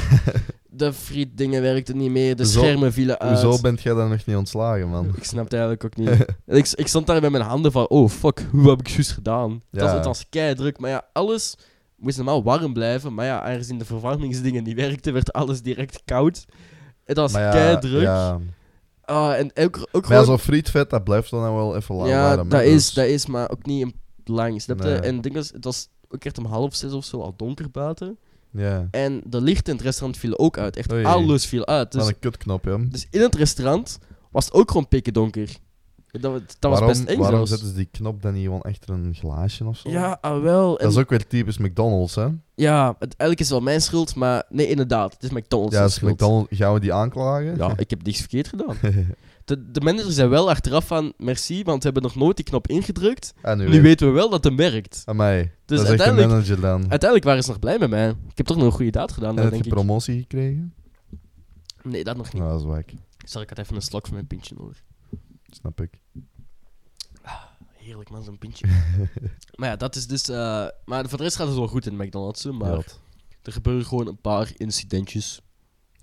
A: de frietdingen werkten niet meer, de
B: Hoezo-
A: schermen vielen uit.
B: Hoezo bent jij dan nog niet ontslagen, man?
A: Ik snap het eigenlijk ook niet. ik, ik stond daar met mijn handen van, oh fuck, hoe heb ik juist gedaan? Het was,
B: Ja.
A: het was druk, maar ja, alles moest normaal warm blijven. Maar ja, aangezien de verwarmingsdingen niet werkten, werd alles direct koud. Het was
B: Maar ja,
A: keidruk.
B: Ja.
A: Ah, en ook, ook
B: Maar ja,
A: gewoon...
B: zo'n frietvet, dat blijft dan nou wel even lang
A: ja,
B: warm, hè,
A: dat, is,
B: dus-
A: dat is, maar ook niet in- lang, snap je?
B: Nee.
A: En ik denk dat het was ook echt om half zes of zo al donker buiten.
B: Ja,
A: En de lichten in het restaurant vielen ook uit. Echt
B: Oei.
A: alles viel uit.
B: dat
A: Dus,
B: is een kutknop, joh.
A: dus in het restaurant was het ook gewoon pikken donker. Dat, wa- dat was
B: waarom
A: best eng
B: waarom
A: zelfs.
B: zetten ze die knop dan niet gewoon achter een glaasje of zo?
A: Ja, ah, wel. En
B: Dat is ook weer typisch McDonald's, hè?
A: Ja, het, eigenlijk is het wel mijn schuld, maar nee, inderdaad, het is McDonald's.
B: Ja,
A: zijn
B: als
A: schuld.
B: McDonald's gaan we die aanklagen.
A: Ja, ik heb niks verkeerd gedaan. De, de manager zei wel achteraf van merci, want we hebben nog nooit die knop ingedrukt.
B: En nu,
A: Nu
B: weer.
A: weten we wel dat het werkt.
B: Amai,
A: Dus
B: dat is echt een
A: uiteindelijk-
B: manager dan.
A: Uiteindelijk waren ze nog blij met mij. Ik heb toch nog een goede daad gedaan,
B: En
A: dan
B: heb je
A: denk ik.
B: promotie gekregen?
A: Nee, dat nog niet.
B: Nou, dat is wak.
A: Zal ik had even een slok van mijn pintje nodig.
B: Snap ik.
A: Heerlijk man, zo'n pintje. maar ja, dat is dus... eh, maar voor de rest gaat het wel goed in McDonald's, hè, maar
B: Ja.
A: er gebeuren gewoon een paar incidentjes.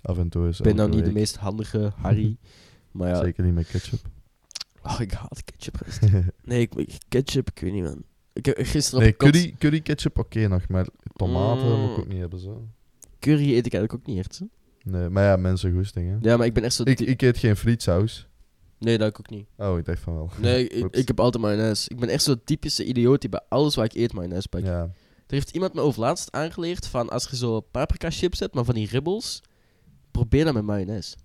B: Af en toe is
A: Ik ben nou
B: elke
A: niet de
B: week.
A: meest handige Harry, maar ja,
B: Zeker niet met ketchup.
A: Oh, ik haat ketchup. gast. nee, ik, ik- ketchup, ik weet niet, man. Ik heb gisteren
B: Nee,
A: op kot-
B: curry, curry ketchup oké nog, maar tomaten
A: Mm.
B: moet ik ook niet hebben zo.
A: curry eet ik eigenlijk ook niet echt. hè.
B: Nee, maar ja, mensen goesting, hè.
A: Ja, maar ik ben echt zo...
B: Ik,
A: die-
B: ik eet geen frietsaus.
A: Nee, dat ik ook niet.
B: Oh, ik dacht van wel.
A: Nee, ik,
B: Oeps.
A: ik heb altijd mayonaise. Ik ben echt zo'n typische idioot die bij alles wat ik eet mayonaise pakt.
B: Ja.
A: Er heeft iemand me overlaatst aangeleerd van als je zo paprika chips hebt, maar van die ribbels, probeer dat met mayonaise.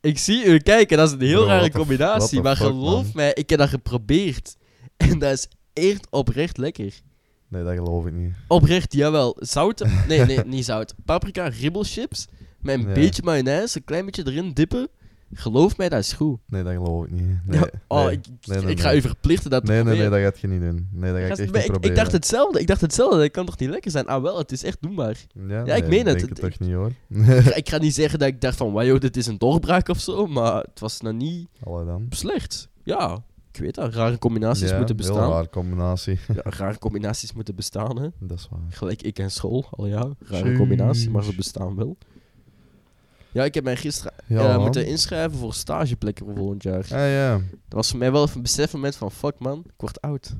A: Ik zie u kijken, dat is een heel
B: Bro,
A: rare
B: what the f- what
A: combinatie,
B: the
A: maar
B: fuck,
A: geloof
B: man.
A: mij, ik heb dat geprobeerd. En dat is echt oprecht lekker.
B: Nee, dat geloof ik niet.
A: Oprecht, jawel. Zout. Nee, nee, niet zout. Paprika, ribbelchips. Met een
B: Ja.
A: beetje mayonaise, een klein beetje erin dippen. Geloof mij, dat is goed.
B: Nee, dat geloof ik niet. Nee,
A: Ja, oh,
B: nee.
A: ik,
B: nee, nee,
A: ik ga
B: nee.
A: u verplichten dat te
B: Nee, nee, nee,
A: proberen.
B: dat gaat je niet doen. Nee, dat ga ik
A: Gast,
B: echt
A: maar
B: niet
A: ik,
B: proberen.
A: ik dacht hetzelfde. Ik dacht hetzelfde. Dat kan toch niet lekker zijn? Ah wel, het is echt doenbaar.
B: Ja,
A: Ja, ik
B: nee,
A: meen het.
B: Denk het
A: Het-
B: toch niet, hoor.
A: ik, ga- ik ga niet zeggen dat ik dacht van, wow, dit is een doorbraak of zo. Maar het was nou niet
B: Allee dan.
A: slecht. Ja, ik weet dat. Rare combinaties
B: Ja,
A: moeten
B: Heel
A: bestaan.
B: raar combinatie.
A: Ja, rare combinaties moeten bestaan, hè.
B: dat is waar.
A: Gelijk ik en school, al ja. Rare
B: Sheesh.
A: combinatie, maar ze bestaan wel. Ja, ik heb mij gisteren
B: Ja,
A: eh,
B: man.
A: moeten inschrijven voor stageplekken voor volgend jaar.
B: Ah, ja.
A: Dat was voor mij wel even een besefmoment van, fuck man, ik word oud.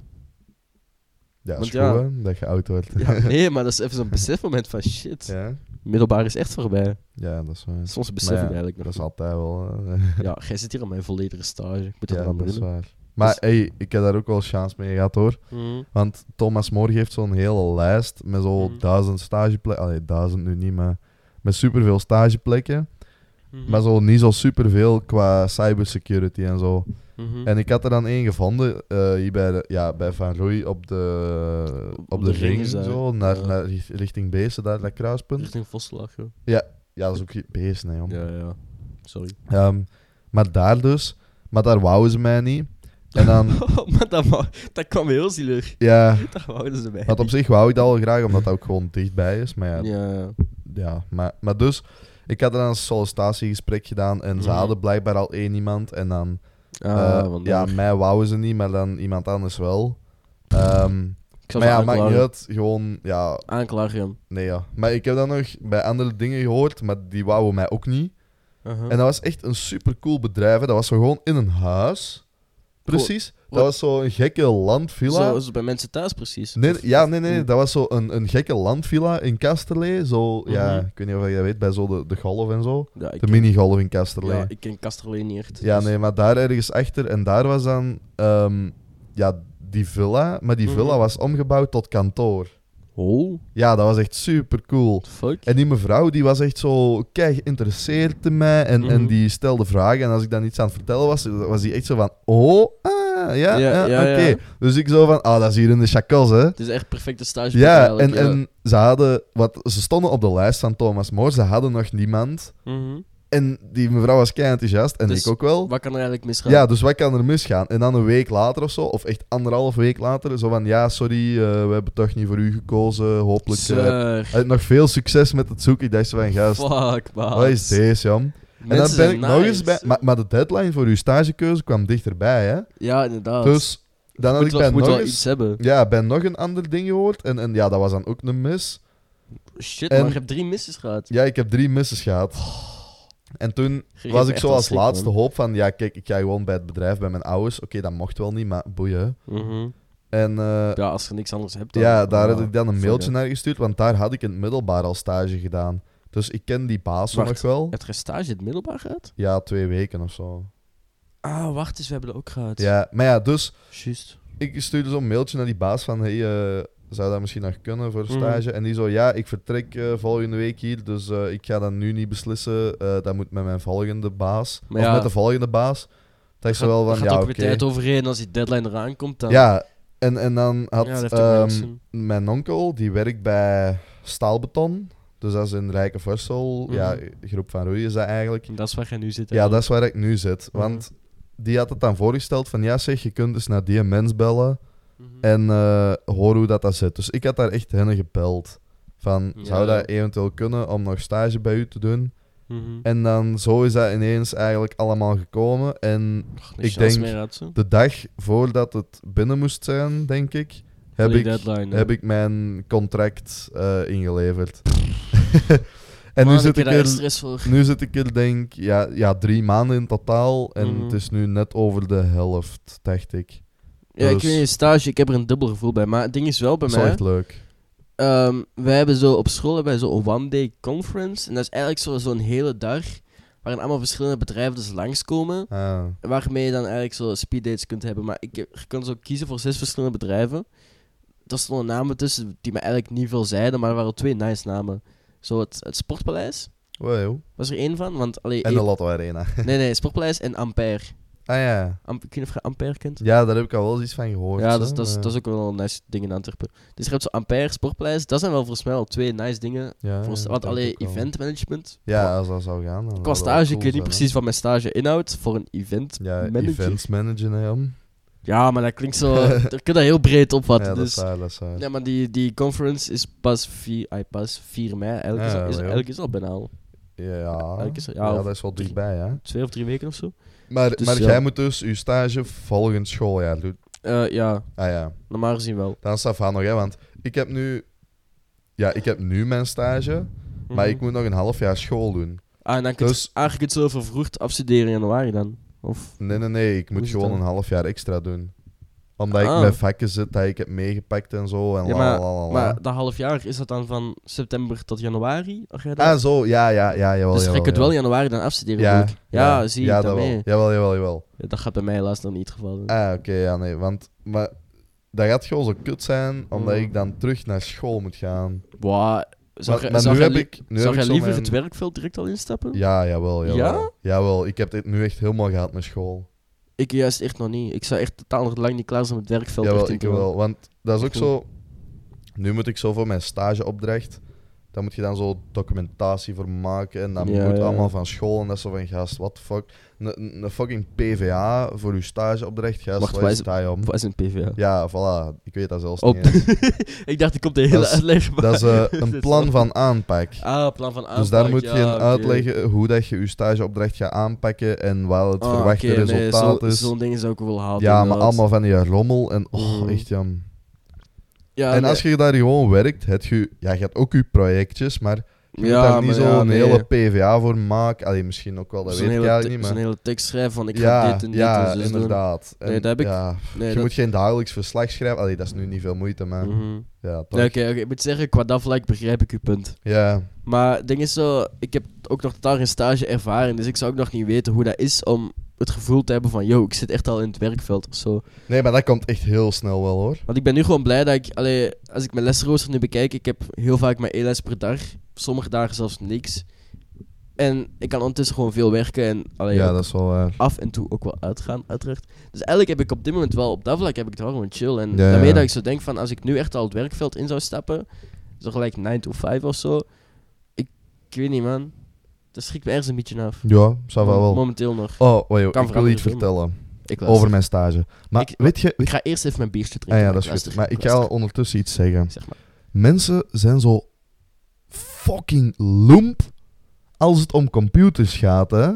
B: Ja,
A: Want
B: is
A: ja.
B: goed, hè, dat je oud wordt.
A: Ja, nee, maar dat is even zo'n besefmoment van, shit,
B: ja?
A: middelbaar is echt voorbij.
B: Ja, dat is waar.
A: Soms besef
B: Maar
A: ik
B: ja,
A: eigenlijk nog.
B: Dat is altijd wel... hè.
A: niet. Ja, jij zit hier aan mijn volledige stage. Ik moet er
B: ja,
A: aan
B: dat is
A: beginnen.
B: waar. Maar
A: Dus-
B: hey, ik heb daar ook wel chance mee gehad, hoor.
A: Mhm.
B: Want Thomas Morg heeft zo'n hele lijst met zo'n
A: Mhm.
B: duizend stageplekken. Allee, duizend nu niet, maar met superveel stageplekken.
A: Mhm.
B: Maar zo niet zo superveel qua cybersecurity en zo.
A: Mhm.
B: En ik had er dan één gevonden, eh, hier bij, de- ja, bij Van Rooij op de, op de,
A: de
B: ring,
A: ring is dat,
B: zo, naar,
A: ja.
B: naar, ri- richting Beesten, daar, dat kruispunt.
A: Richting Vosslag, joh.
B: Ja, dat is ook geen Beesten, hè, joh.
A: Ja, ja. Sorry.
B: Ehm, maar daar dus, maar daar wouden ze mij niet. En dan,
A: Oh, maar dat, wou- dat kwam heel zielig.
B: ja,
A: Dat wouden ze mij
B: want op
A: niet.
B: zich wou ik dat al graag, omdat dat ook gewoon dichtbij is. Maar ja, ja.
A: Ja, Ah, ja.
B: maar, maar dus, ik had dan een sollicitatiegesprek gedaan en ze
A: Mhm.
B: hadden blijkbaar al één iemand. En dan,
A: Ah,
B: eh,
A: want
B: ja,
A: daar-
B: mij wouden ze niet, maar dan iemand anders wel. Ehm,
A: ik zal
B: maar ja,
A: ze
B: maakt niet
A: aanklagen.
B: uit, gewoon, ja,
A: Aanklagen. Jan.
B: Nee, ja. Maar ik heb dat nog bij andere dingen gehoord, maar die wouden mij ook niet.
A: Uh-huh.
B: En dat was echt een supercool bedrijf. hè. Dat was zo gewoon in een huis. Precies.
A: Wat?
B: Dat was zo'n gekke landvilla.
A: Zoals bij mensen thuis precies.
B: Nee,
A: Of-
B: ja,
A: of-
B: nee, nee. Dat was zo'n een, een gekke landvilla in Kasterlee. Zo, ja,
A: Mhm.
B: ik weet niet of je dat weet, bij zo de, de golf en zo.
A: Ja, ik
B: De minigolf in Kasterlee.
A: ja,
B: Ja,
A: ik ken Kasterleen niet echt. dus-
B: nee, maar daar ergens achter. En daar was dan, ehm, ja, die villa. Maar die villa
A: Mhm.
B: was omgebouwd tot kantoor.
A: Oh,
B: Ja, dat was echt supercool.
A: what the fuck.
B: En die mevrouw die was echt zo kei geïnteresseerd in mij en, en
A: Mhm.
B: die stelde vragen. En als ik dan iets aan het vertellen was, was die echt zo van: Oh, ah, ja,
A: Ja,
B: ah,
A: ja,
B: oké.
A: ja.
B: Dus ik zo van: Ah, dat is hier in de chacos, hè.
A: Het is eh, echt perfecte stage.
B: Ja, en, en ze hadden, wat, ze stonden op de lijst van Thomas Moore, ze hadden nog niemand.
A: Mhm.
B: En die mevrouw was kei enthousiast en
A: Dus
B: ik ook wel.
A: Wat kan er eigenlijk misgaan?
B: Ja, dus wat kan er misgaan? En dan een week later of zo, of echt anderhalf week later, zo van: Ja, sorry, eh, we hebben toch niet voor u gekozen. Hopelijk. eh,
A: Zeg,
B: eh, nog veel succes met het zoeken. Ik dacht zo van: Gast.
A: Fuck, man.
B: Wat is deze, jam? En dan
A: Mensen
B: ben ik
A: zijn
B: nog
A: nice.
B: eens bij... Maar, maar de deadline voor uw stagekeuze kwam dichterbij, hè?
A: Ja, inderdaad.
B: Dus dan had
A: moet
B: ik
A: wel,
B: bij
A: moet
B: nog,
A: wel
B: eens-
A: iets hebben.
B: ja, bij nog een ander ding gehoord. En, en ja, dat was dan ook een mis.
A: Shit,
B: En-
A: maar je hebt drie misses gehad.
B: Ja, ik heb drie misses gehad. En toen
A: Je
B: was
A: geeft
B: ik
A: echt
B: zo
A: wel
B: als
A: schrik,
B: laatste
A: man.
B: hoop van, ja kijk, ik ga gewoon bij het bedrijf, bij mijn ouders. Oké, dat mocht wel niet, maar boeien.
A: Mhm.
B: En eh,
A: Ja, als je niks anders hebt dan...
B: ja, daar
A: Ah,
B: had ik dan een
A: fuck
B: mailtje
A: it.
B: naar gestuurd, want daar had ik in het middelbaar al stage gedaan. Dus ik ken die baas wel nog
A: Wacht.
B: wel.
A: Heb je stage in het middelbaar gehad?
B: Ja, twee weken of zo.
A: Ah, wacht eens, we hebben dat ook gehad.
B: Ja, maar ja, dus
A: Juist.
B: ik stuurde zo'n mailtje naar die baas van... Hey, eh, zou dat misschien nog kunnen voor stage? En die zo, ja, ik vertrek eh, volgende week hier, dus eh, ik ga dat nu niet beslissen. Eh, dat moet met mijn volgende baas.
A: Maar
B: of
A: ja.
B: met de volgende baas. Dat ik zo wel
A: Er
B: van,
A: gaat
B: ja,
A: ook
B: oké.
A: weer tijd overheen als die deadline eraan komt. Dan...
B: Ja, en, en dan had
A: Ja, dat heeft ook
B: ehm,
A: mensen.
B: mijn onkel, die werkt bij Staalbeton. Dus dat is in Rijke Vorsel. Ja,
A: Mhm.
B: groep van Roei is dat eigenlijk.
A: Dat is waar jij nu zit.
B: Ja, dat is waar ik nu zit.
A: Mhm.
B: Want die had het dan voorgesteld van... Ja zeg, je kunt eens naar die mens bellen
A: Mhm.
B: en eh, horen hoe dat, dat zit. Dus ik had daar echt hen gebeld. Van,
A: Ja.
B: zou dat eventueel kunnen om nog stage bij u te doen?
A: Mhm.
B: En dan zo is dat ineens eigenlijk allemaal gekomen. En
A: Och,
B: ik
A: niks chance
B: denk-
A: meer had, zo.
B: de dag voordat het binnen moest zijn, denk ik... Heb
A: Voor
B: ik,
A: die deadline, hè.
B: heb ik mijn contract eh, ingeleverd. en nu
A: Man, heb
B: zit
A: je
B: ik,
A: daar echt
B: er,
A: stress voor.
B: nu zit ik er, denk ja, ja, drie maanden in totaal. En
A: Mhm.
B: het is nu net over de helft, dacht ik.
A: Ja, ik
B: Dus-
A: weet niet, stage, ik heb er een dubbel gevoel bij. Maar het ding is wel bij
B: Dat is wel
A: mij...
B: echt leuk.
A: ehm, wij hebben zo op school hebben wij zo een one-day conference. En dat is eigenlijk zo- zo'n hele dag. Waarin allemaal verschillende bedrijven dus langskomen.
B: Ah,
A: Waarmee je dan eigenlijk zo speeddates kunt hebben. Maar ik, heb- je kan zo kiezen voor zes verschillende bedrijven. Er stonden namen tussen die me eigenlijk niet veel zeiden. Maar er waren twee nice namen. Zo het, het Sportpaleis
B: wow.
A: was er één van. Want alleen
B: En de Lotto Arena.
A: Nee, nee, Sportpaleis en Ampère.
B: Ah ja.
A: Am ik weet niet of je Ampère kent.
B: Ja, daar heb ik al wel eh. eens iets van gehoord.
A: Ja,
B: hè,
A: dat is, dat, is,
B: maar-
A: dat is ook wel een nice ding in Antwerpen. Dus je hebt zo Ampère, Sportpaleis. Dat zijn wel volgens mij al twee nice dingen.
B: Ja,
A: Volgens,
B: ja,
A: want
B: dat denk
A: alleen
B: ik ook wel.
A: event management.
B: Ja, als dat zou gaan. dan
A: Qua
B: zou dat wel
A: stage, ik
B: cool
A: weet niet
B: zijn,
A: precies wat mijn stage inhoudt voor een event.
B: hè. Ja,
A: manager.
B: events manager, hè, jong.
A: Ja, maar dat klinkt zo... je kunt dat heel breed opvatten.
B: Ja, dat is
A: dus,
B: waar, dat is waar.
A: ja, maar die, die conference is pas 4, ay, pas 4 mei. Eigenlijk, is,
B: Ja,
A: dat- is,
B: wel,
A: eigenlijk is dat bijna al.
B: Ja,
A: Elke is er- ja,
B: ja
A: of
B: dat is wel
A: drie-
B: dichtbij, hè.
A: Twee of drie weken of zo.
B: Maar,
A: Dus
B: maar
A: ja.
B: jij moet dus je stage volgend schooljaar doen.
A: Eh, ja,
B: Ah ja,
A: normaal gezien wel.
B: dan is dat van nog, hè, want ik heb nu... Ja, ik heb nu mijn stage, maar
A: Mhm.
B: ik moet nog een half jaar school doen.
A: Ah, en dan kun je,
B: Dus-
A: ah, je kunt zo vervroegd afstuderen in januari dan. Of...
B: Nee, nee, nee, ik
A: Hoe
B: moet
A: is het
B: gewoon een
A: dan?
B: half jaar extra doen. Omdat ik
A: Ah.
B: met vakken zit, dat ik heb meegepakt en zo, en
A: Ja,
B: la,
A: maar,
B: la, la, la.
A: maar dat half jaar, is dat dan van september tot januari? Of jij dat-
B: Ah, zo, ja, ja, ja, jawel,
A: dus je
B: jawel,
A: kunt wel
B: jawel.
A: januari dan afstuderen, bedoel ik. Ja, zie ik
B: dat
A: dan
B: wel.
A: mee.
B: Jawel, jawel, jawel.
A: Ja, dat gaat bij mij helaas dan niet het geval zijn.
B: Ah, oké, ja, nee, want... Maar dat gaat gewoon zo kut zijn, omdat
A: Mm.
B: ik dan terug naar school moet gaan.
A: Wow. Zou
B: Maar-
A: jij-
B: maar
A: zou
B: nu
A: jij
B: heb
A: li-
B: ik- nu
A: zou
B: heb ik
A: jij
B: zo
A: liever
B: mijn-
A: het werkveld direct al instappen?
B: Ja, jawel, jawel.
A: Ja?
B: Jawel, ik heb dit nu echt helemaal gehad met school.
A: Ik juist echt nog niet. Ik zou echt totaal nog lang niet klaar zijn om het werkveld echt
B: jawel,
A: in
B: ik
A: te gaan.
B: wel. Want dat is ook
A: Goed.
B: zo... Nu moet ik zo voor mijn stageopdracht... Daar moet je dan zo documentatie voor maken. En dat
A: Ja,
B: moet
A: ja.
B: allemaal van school. En dat is zo van, gast, what the fuck. Een een fucking PVA voor je stageopdracht. Gast,
A: Wacht,
B: waar
A: waar
B: is
A: is- Oh.
B: dat, joh?
A: Wat is een PVA?
B: Ja, voilà. Ik weet dat zelfs
A: Op.
B: niet. eens.
A: ik dacht, ik kom de hele
B: Dat is-
A: uitleg maar-
B: Dat is eh, een plan van aanpak.
A: Ah, plan van aanpak.
B: Dus daar moet je
A: ja,
B: in
A: oké.
B: uitleggen hoe dat je je stageopdracht gaat aanpakken en wat het
A: Ah,
B: verwachte
A: oké, nee,
B: resultaat
A: zo-
B: is.
A: Zo'n ding zou ik wel halen.
B: ja, maar
A: inderdaad.
B: allemaal van die rommel en oh,
A: Mhm.
B: echt jam.
A: Ja,
B: en
A: nee.
B: als je daar gewoon werkt, heb je, ja, je hebt ook je projectjes, maar je moet
A: ja,
B: daar niet
A: maar
B: zo'n
A: ja, nee.
B: hele PVA voor maken. Allee, misschien ook wel, dat
A: Zo'n
B: weet ik
A: hele
B: eigenlijk
A: te-
B: niet,
A: Zo'n
B: maar...
A: hele tekst schrijven van ik ga
B: ja,
A: dit en dit
B: ja,
A: en zo doen.
B: inderdaad. En
A: Nee, dat heb ik-
B: ja,
A: Nee,
B: je
A: dat-
B: moet geen dagelijks verslag schrijven. Allee, dat is nu niet veel moeite, maar...
A: Mhm.
B: Ja, toch.
A: Nee, Oké, oké, ik moet zeggen, qua dat vlak begrijp ik uw punt.
B: Ja,
A: Maar het ding is zo, ik heb ook nog totaal geen stage ervaring, dus ik zou ook nog niet weten hoe dat is om het gevoel te hebben van, yo, ik zit echt al in het werkveld of zo.
B: nee, maar dat komt echt heel snel wel, hoor.
A: Want ik ben nu gewoon blij dat ik, allee, als ik mijn lesrooster nu bekijk, ik heb heel vaak maar één les per dag, sommige dagen zelfs niks. En ik kan ondertussen gewoon veel werken en allee,
B: ja, dat is wel eh, waar.
A: af en toe ook wel uitgaan, uiteraard. Dus eigenlijk heb ik op dit moment wel, op dat vlak heb ik het wel gewoon chill. En
B: Ja,
A: daarmee
B: ja.
A: dat ik zo denk van, als ik nu echt al het werkveld in zou stappen, zo gelijk 9 to 5 of zo, ik, ik weet niet man, dat schrikt me ergens een beetje af.
B: Ja, zou wel wel.
A: Momenteel nog.
B: Oh, wait,
A: Kan
B: ik wil iets
A: veranderen,
B: vertellen.
A: Ik, luister.
B: Over mijn stage. Maar
A: Ik-
B: weet je... Weet
A: ik ga eerst even mijn biertje
B: ah
A: drinken.
B: ja, dat is
A: luister,
B: goed. Maar ik ga
A: luister.
B: ondertussen iets zeggen.
A: Zeg maar.
B: Mensen zijn zo fucking loemp als het om computers gaat, hè.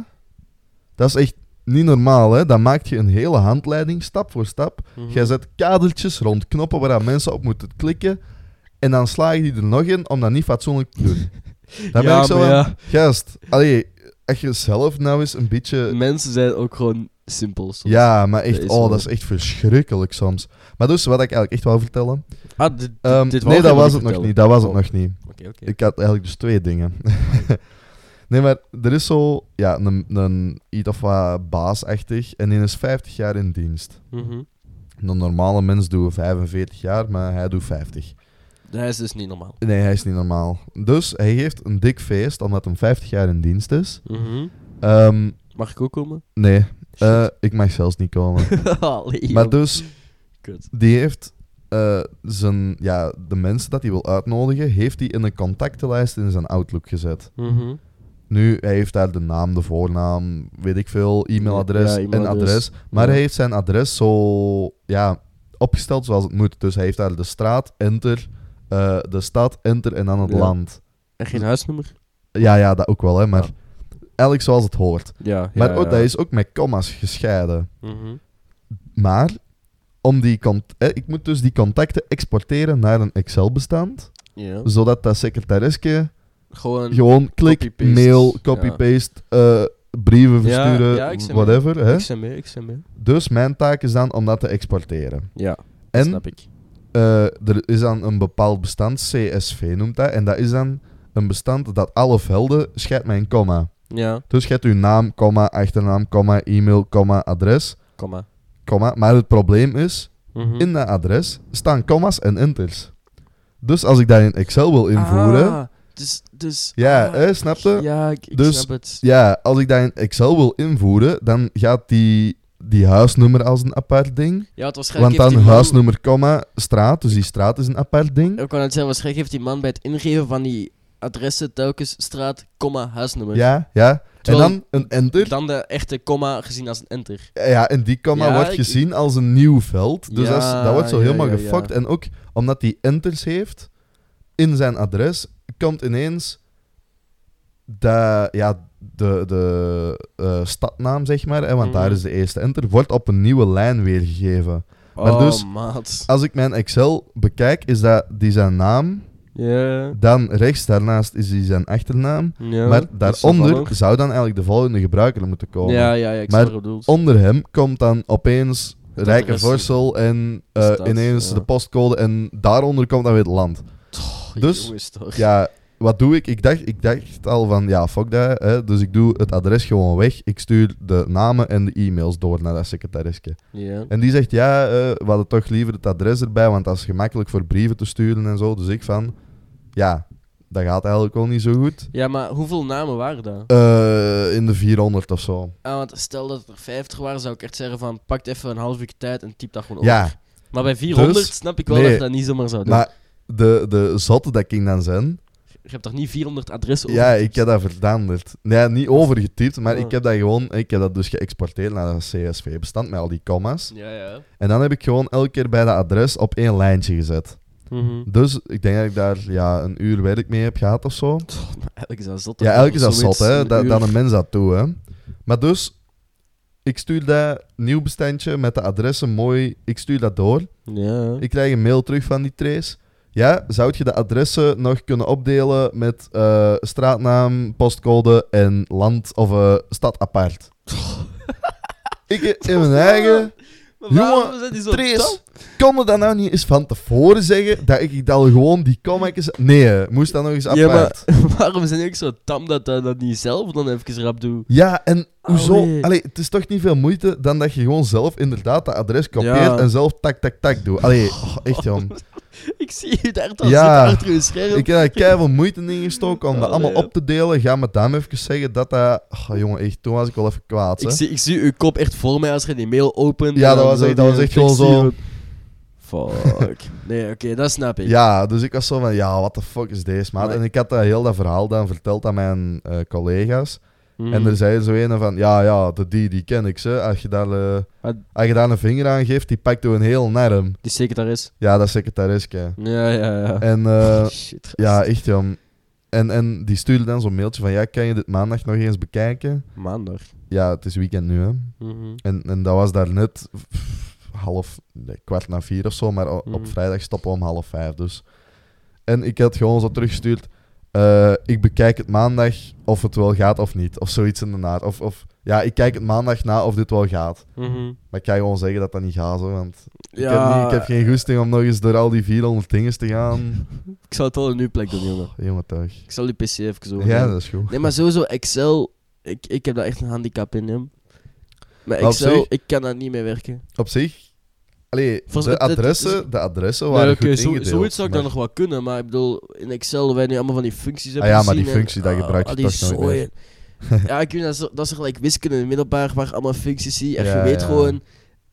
B: Dat is echt niet normaal, hè. Dan maak je een hele
A: Mm. Mhm.
B: handleiding, stap voor stap. Jij zet kadertjes rond knoppen waar mensen op moeten klikken. En dan sla je die er nog in om dat niet fatsoenlijk te doen. Dan ben
A: ja,
B: ik zo
A: maar
B: van,
A: ja,
B: gast, allee, als je zelf nou eens een beetje...
A: mensen zijn ook gewoon simpel soms.
B: Ja, maar
A: Dat
B: echt,
A: is
B: oh,
A: wel-
B: dat is echt verschrikkelijk soms. Maar dus, wat ik eigenlijk echt wou vertellen...
A: Ah, dit, dit-
B: Ehm,
A: dit wou
B: nee,
A: ik
B: dat was
A: helemaal
B: het nog
A: vertellen.
B: niet, dat was het
A: Oh,
B: nog niet.
A: Oké, oké.
B: Ik had eigenlijk dus twee dingen. nee, maar er is zo ja, een, een iets of wat baasachtig en die is 50 jaar in dienst.
A: Mhm.
B: Een normale mens doet 45 jaar, maar hij doet 50.
A: Dat is dus niet normaal.
B: Nee, hij is niet normaal. Dus hij geeft een dik feest omdat hij 50 jaar in dienst is.
A: Mhm.
B: Ehm,
A: Mag ik ook komen?
B: nee, eh, ik mag zelfs niet komen.
A: Allee,
B: maar
A: joh.
B: dus,
A: Kut.
B: die heeft eh, zijn, ja, de mensen dat hij wil uitnodigen, heeft hij in een contactenlijst in zijn Outlook gezet.
A: Mhm.
B: Nu, hij heeft daar de naam, de voornaam, weet ik veel, e-mailadres
A: Ja,
B: en
A: e-mailadres.
B: adres. Maar
A: Ja.
B: hij heeft zijn adres zo ja, opgesteld zoals het moet. Dus hij heeft daar de straat, enter, eh, de stad, enter en dan het
A: Ja.
B: land.
A: En geen huisnummer?
B: Ja, ja, dat ook wel, hè, maar eigenlijk zoals het hoort.
A: Ja. ja,
B: Maar ook,
A: ja.
B: dat is ook met commas gescheiden.
A: Mhm.
B: Maar om die cont- eh, ik moet dus die contacten exporteren naar een Excel-bestand,
A: Ja.
B: zodat dat secretaresje
A: Gewoon...
B: Gewoon klik,
A: Copy-paste.
B: mail, copy-paste, eh,
A: Ja,
B: brieven versturen,
A: ja, ik snap
B: whatever. Hè?
A: Ik ben mee, ik ben mee.
B: Dus mijn taak is dan om dat te exporteren.
A: Ja, dat
B: En
A: snap ik.
B: eh, er is dan een bepaald bestand, CSV noemt dat, en dat is dan een bestand dat alle velden scheidt met een comma.
A: Ja,
B: Dus je hebt uw naam, comma, achternaam, comma, e-mail, comma, adres,
A: kom maar.
B: comma. Maar het probleem is,
A: Mhm.
B: in dat adres staan commas en enters. Dus als ik dat in Excel wil invoeren,
A: Ah, dus, dus...
B: ja,
A: ah,
B: hè, snap je?
A: Ja, ik, ik
B: Dus-
A: snap het.
B: Ja, als ik dat in Excel wil invoeren, dan gaat die, die huisnummer als een apart ding.
A: Ja, het waarschijnlijk heeft
B: Want dan
A: die Oh, man-
B: huisnummer, comma, straat. Dus die straat is een apart ding.
A: Ik kan het zeggen, waarschijnlijk heeft die man bij het ingeven van die adressen telkens straat, comma, huisnummer.
B: Ja, ja. En
A: Terwijl-
B: dan een enter.
A: Dan de echte comma gezien als een enter.
B: Ja, en die comma
A: Ja,
B: wordt
A: ik-
B: gezien als een nieuw veld. Dus
A: Ja,
B: dat, is- dat wordt zo
A: ja,
B: helemaal
A: ja, ja.
B: gefokt. En ook omdat die enters heeft in zijn adres, komt ineens de, ja, de, de eh, stadnaam, zeg maar. Hè, want
A: Mhm.
B: daar is de eerste enter. Wordt op een nieuwe lijn weergegeven. Maar
A: oh,
B: dus-
A: maat.
B: Als ik mijn Excel bekijk, is dat die zijn naam.
A: Ja.
B: Dan rechts daarnaast is die zijn achternaam.
A: ja.
B: maar
A: dat is wel
B: daaronder
A: handig.
B: zou dan eigenlijk de volgende gebruiker moeten komen.
A: Ja, ja, ja, ik
B: Maar
A: snap wat je bedoelt.
B: Onder hem komt dan opeens
A: Het adres.
B: Rijkervorsel en eh,
A: De stad,
B: ineens
A: ja.
B: de postcode. En daaronder komt dan weer het land.
A: Goh,
B: dus-
A: jongens, toch.
B: Ja, wat doe ik? Ik dacht, ik dacht al van, ja, fuck dat. Hè. Dus ik doe het adres gewoon weg. Ik stuur de namen en de e-mails door naar dat secretariske.
A: Ja.
B: En die zegt, ja, eh, we hadden toch liever het adres erbij, want dat is gemakkelijk voor brieven te sturen en zo. Dus ik van, ja, dat gaat eigenlijk wel niet zo goed.
A: ja, maar hoeveel namen waren dat?
B: Eh, in de 400 of zo.
A: Ah, want stel dat het er 50 waren, zou ik echt zeggen van pak even een half uur tijd en typ dat gewoon
B: Ja.
A: over. Maar bij 400
B: Dus-
A: snap ik wel
B: nee,
A: dat je dat niet zomaar zou doen.
B: Maar de, de zotte dat ik dan zijn,
A: je hebt toch niet 400 adressen over?
B: ja, ik heb dat veranderd. Nee, niet overgetypt, maar
A: Ah.
B: ik heb dat gewoon, ik heb dat dus geëxporteerd naar dat CSV-bestand met al die commas.
A: Ja, ja.
B: En dan heb ik gewoon elke keer bij dat adres op één lijntje gezet.
A: Mhm.
B: Dus ik denk dat ik daar ja, een uur werk mee heb gehad of zo.
A: Toch, maar elk is dat zot.
B: Ja, elke is dat zot, hè? Dat,
A: dan
B: dat een mens dat toe, hè? Maar dus, ik stuur dat nieuw bestandje met de adressen mooi. Ik stuur dat door.
A: Ja.
B: Ik krijg een mail terug van die trace. Ja, zou je de adressen nog kunnen opdelen met eh, straatnaam, postcode en land of eh, stad apart? ik in mijn eigen.
A: Maar waarom
B: Jongen,
A: zijn die zo
B: Trace,
A: dom?
B: kon je dat nou niet eens van tevoren zeggen dat ik dan gewoon die commentjes. Nee, hè, moest dat nog eens apart.
A: Ja, maar waarom zijn die ook zo tam dat eh, dat, dat niet zelf dan even rap doe?
B: Ja, en
A: Ah,
B: hoezo?
A: Allee.
B: Allee, het is toch niet veel moeite dan dat je gewoon zelf inderdaad dat adres kopieert
A: Ja. Ah,
B: en zelf tak, tak, tak doet. Allee, oh, echt jong.
A: Ik zie je daar dan
B: Ja.
A: zitten achter je scherm.
B: Ik heb daar keihard moeite in gestoken om dat
A: Allee.
B: allemaal op te delen. Ga met hem even zeggen dat dat... Oh, jongen, echt, toen was ik wel even kwaad,
A: Ik
B: hè.
A: zie, ik zie uw kop echt voor mij als je die mail opent.
B: Ja,
A: en
B: dat
A: dan
B: was
A: zo
B: echt- dat
A: die
B: was echt
A: tekst
B: gewoon
A: zien we- Fuck. Nee, oké, dat snap ik.
B: Ja, dus ik was zo van, ja, what the fuck is deze, maat?
A: Maar-
B: En ik had dat heel dat verhaal dan verteld aan mijn eh, collega's.
A: Mhm.
B: En er zei zo een van, ja, ja, de, die, die ken ik, ze. Als je daar, eh,
A: Ah.
B: als je daar een vinger aan geeft, die pakt door een heel nerm.
A: Die secretaris.
B: Ja, dat is secretariske.
A: Ja, ja, ja.
B: En... eh,
A: Shit, gast.
B: Ja, echt jam. En, en die stuurde dan zo'n mailtje van, ja, kan je dit maandag nog eens bekijken?
A: Maandag.
B: Ja, het is weekend nu, hè.
A: Mhm.
B: En, en dat was daar net pff, half, nee, kwart na vier of zo, maar o- op
A: Mhm.
B: vrijdag stoppen we om half vijf, dus... En ik had gewoon zo teruggestuurd. eh, ik bekijk het maandag of het wel gaat of niet. Of zoiets in de naad. Of, of ja, ik kijk het maandag na of dit wel gaat.
A: Mhm.
B: Maar ik ga gewoon zeggen dat dat niet gaat, hoor, want ik, heb
A: Ja,
B: niet, ik heb geen goesting om nog eens door al die 400 dinges te gaan.
A: ik zou het wel in uw plek doen, jongen.
B: Jongen, toch.
A: Ik zal die PC even zo.
B: Ja, dat is goed.
A: Nee, maar sowieso, Excel, ik, ik heb daar echt een handicap in, hem. Maar
B: Maar op
A: Excel,
B: zich-
A: ik kan daar niet mee werken.
B: Op zich, allee,
A: Volgens
B: de,
A: mij- dit-
B: adressen, de adressen waren
A: Nee,
B: goed
A: oké, zo-
B: ingedeeld.
A: zoiets zou ik
B: maar-
A: dan nog wel kunnen, maar ik bedoel, in Excel, wij nu allemaal van die functies hebben
B: Ah ja, maar
A: gezien
B: die
A: en-
B: functie, dat
A: ah,
B: gebruik je
A: al die
B: toch nooit meer.
A: zooien. ja, ik weet, dat, is, dat is gelijk wiskunde in het middelbaar, waar je allemaal functies zie. En
B: Ja,
A: je weet
B: ja.
A: gewoon,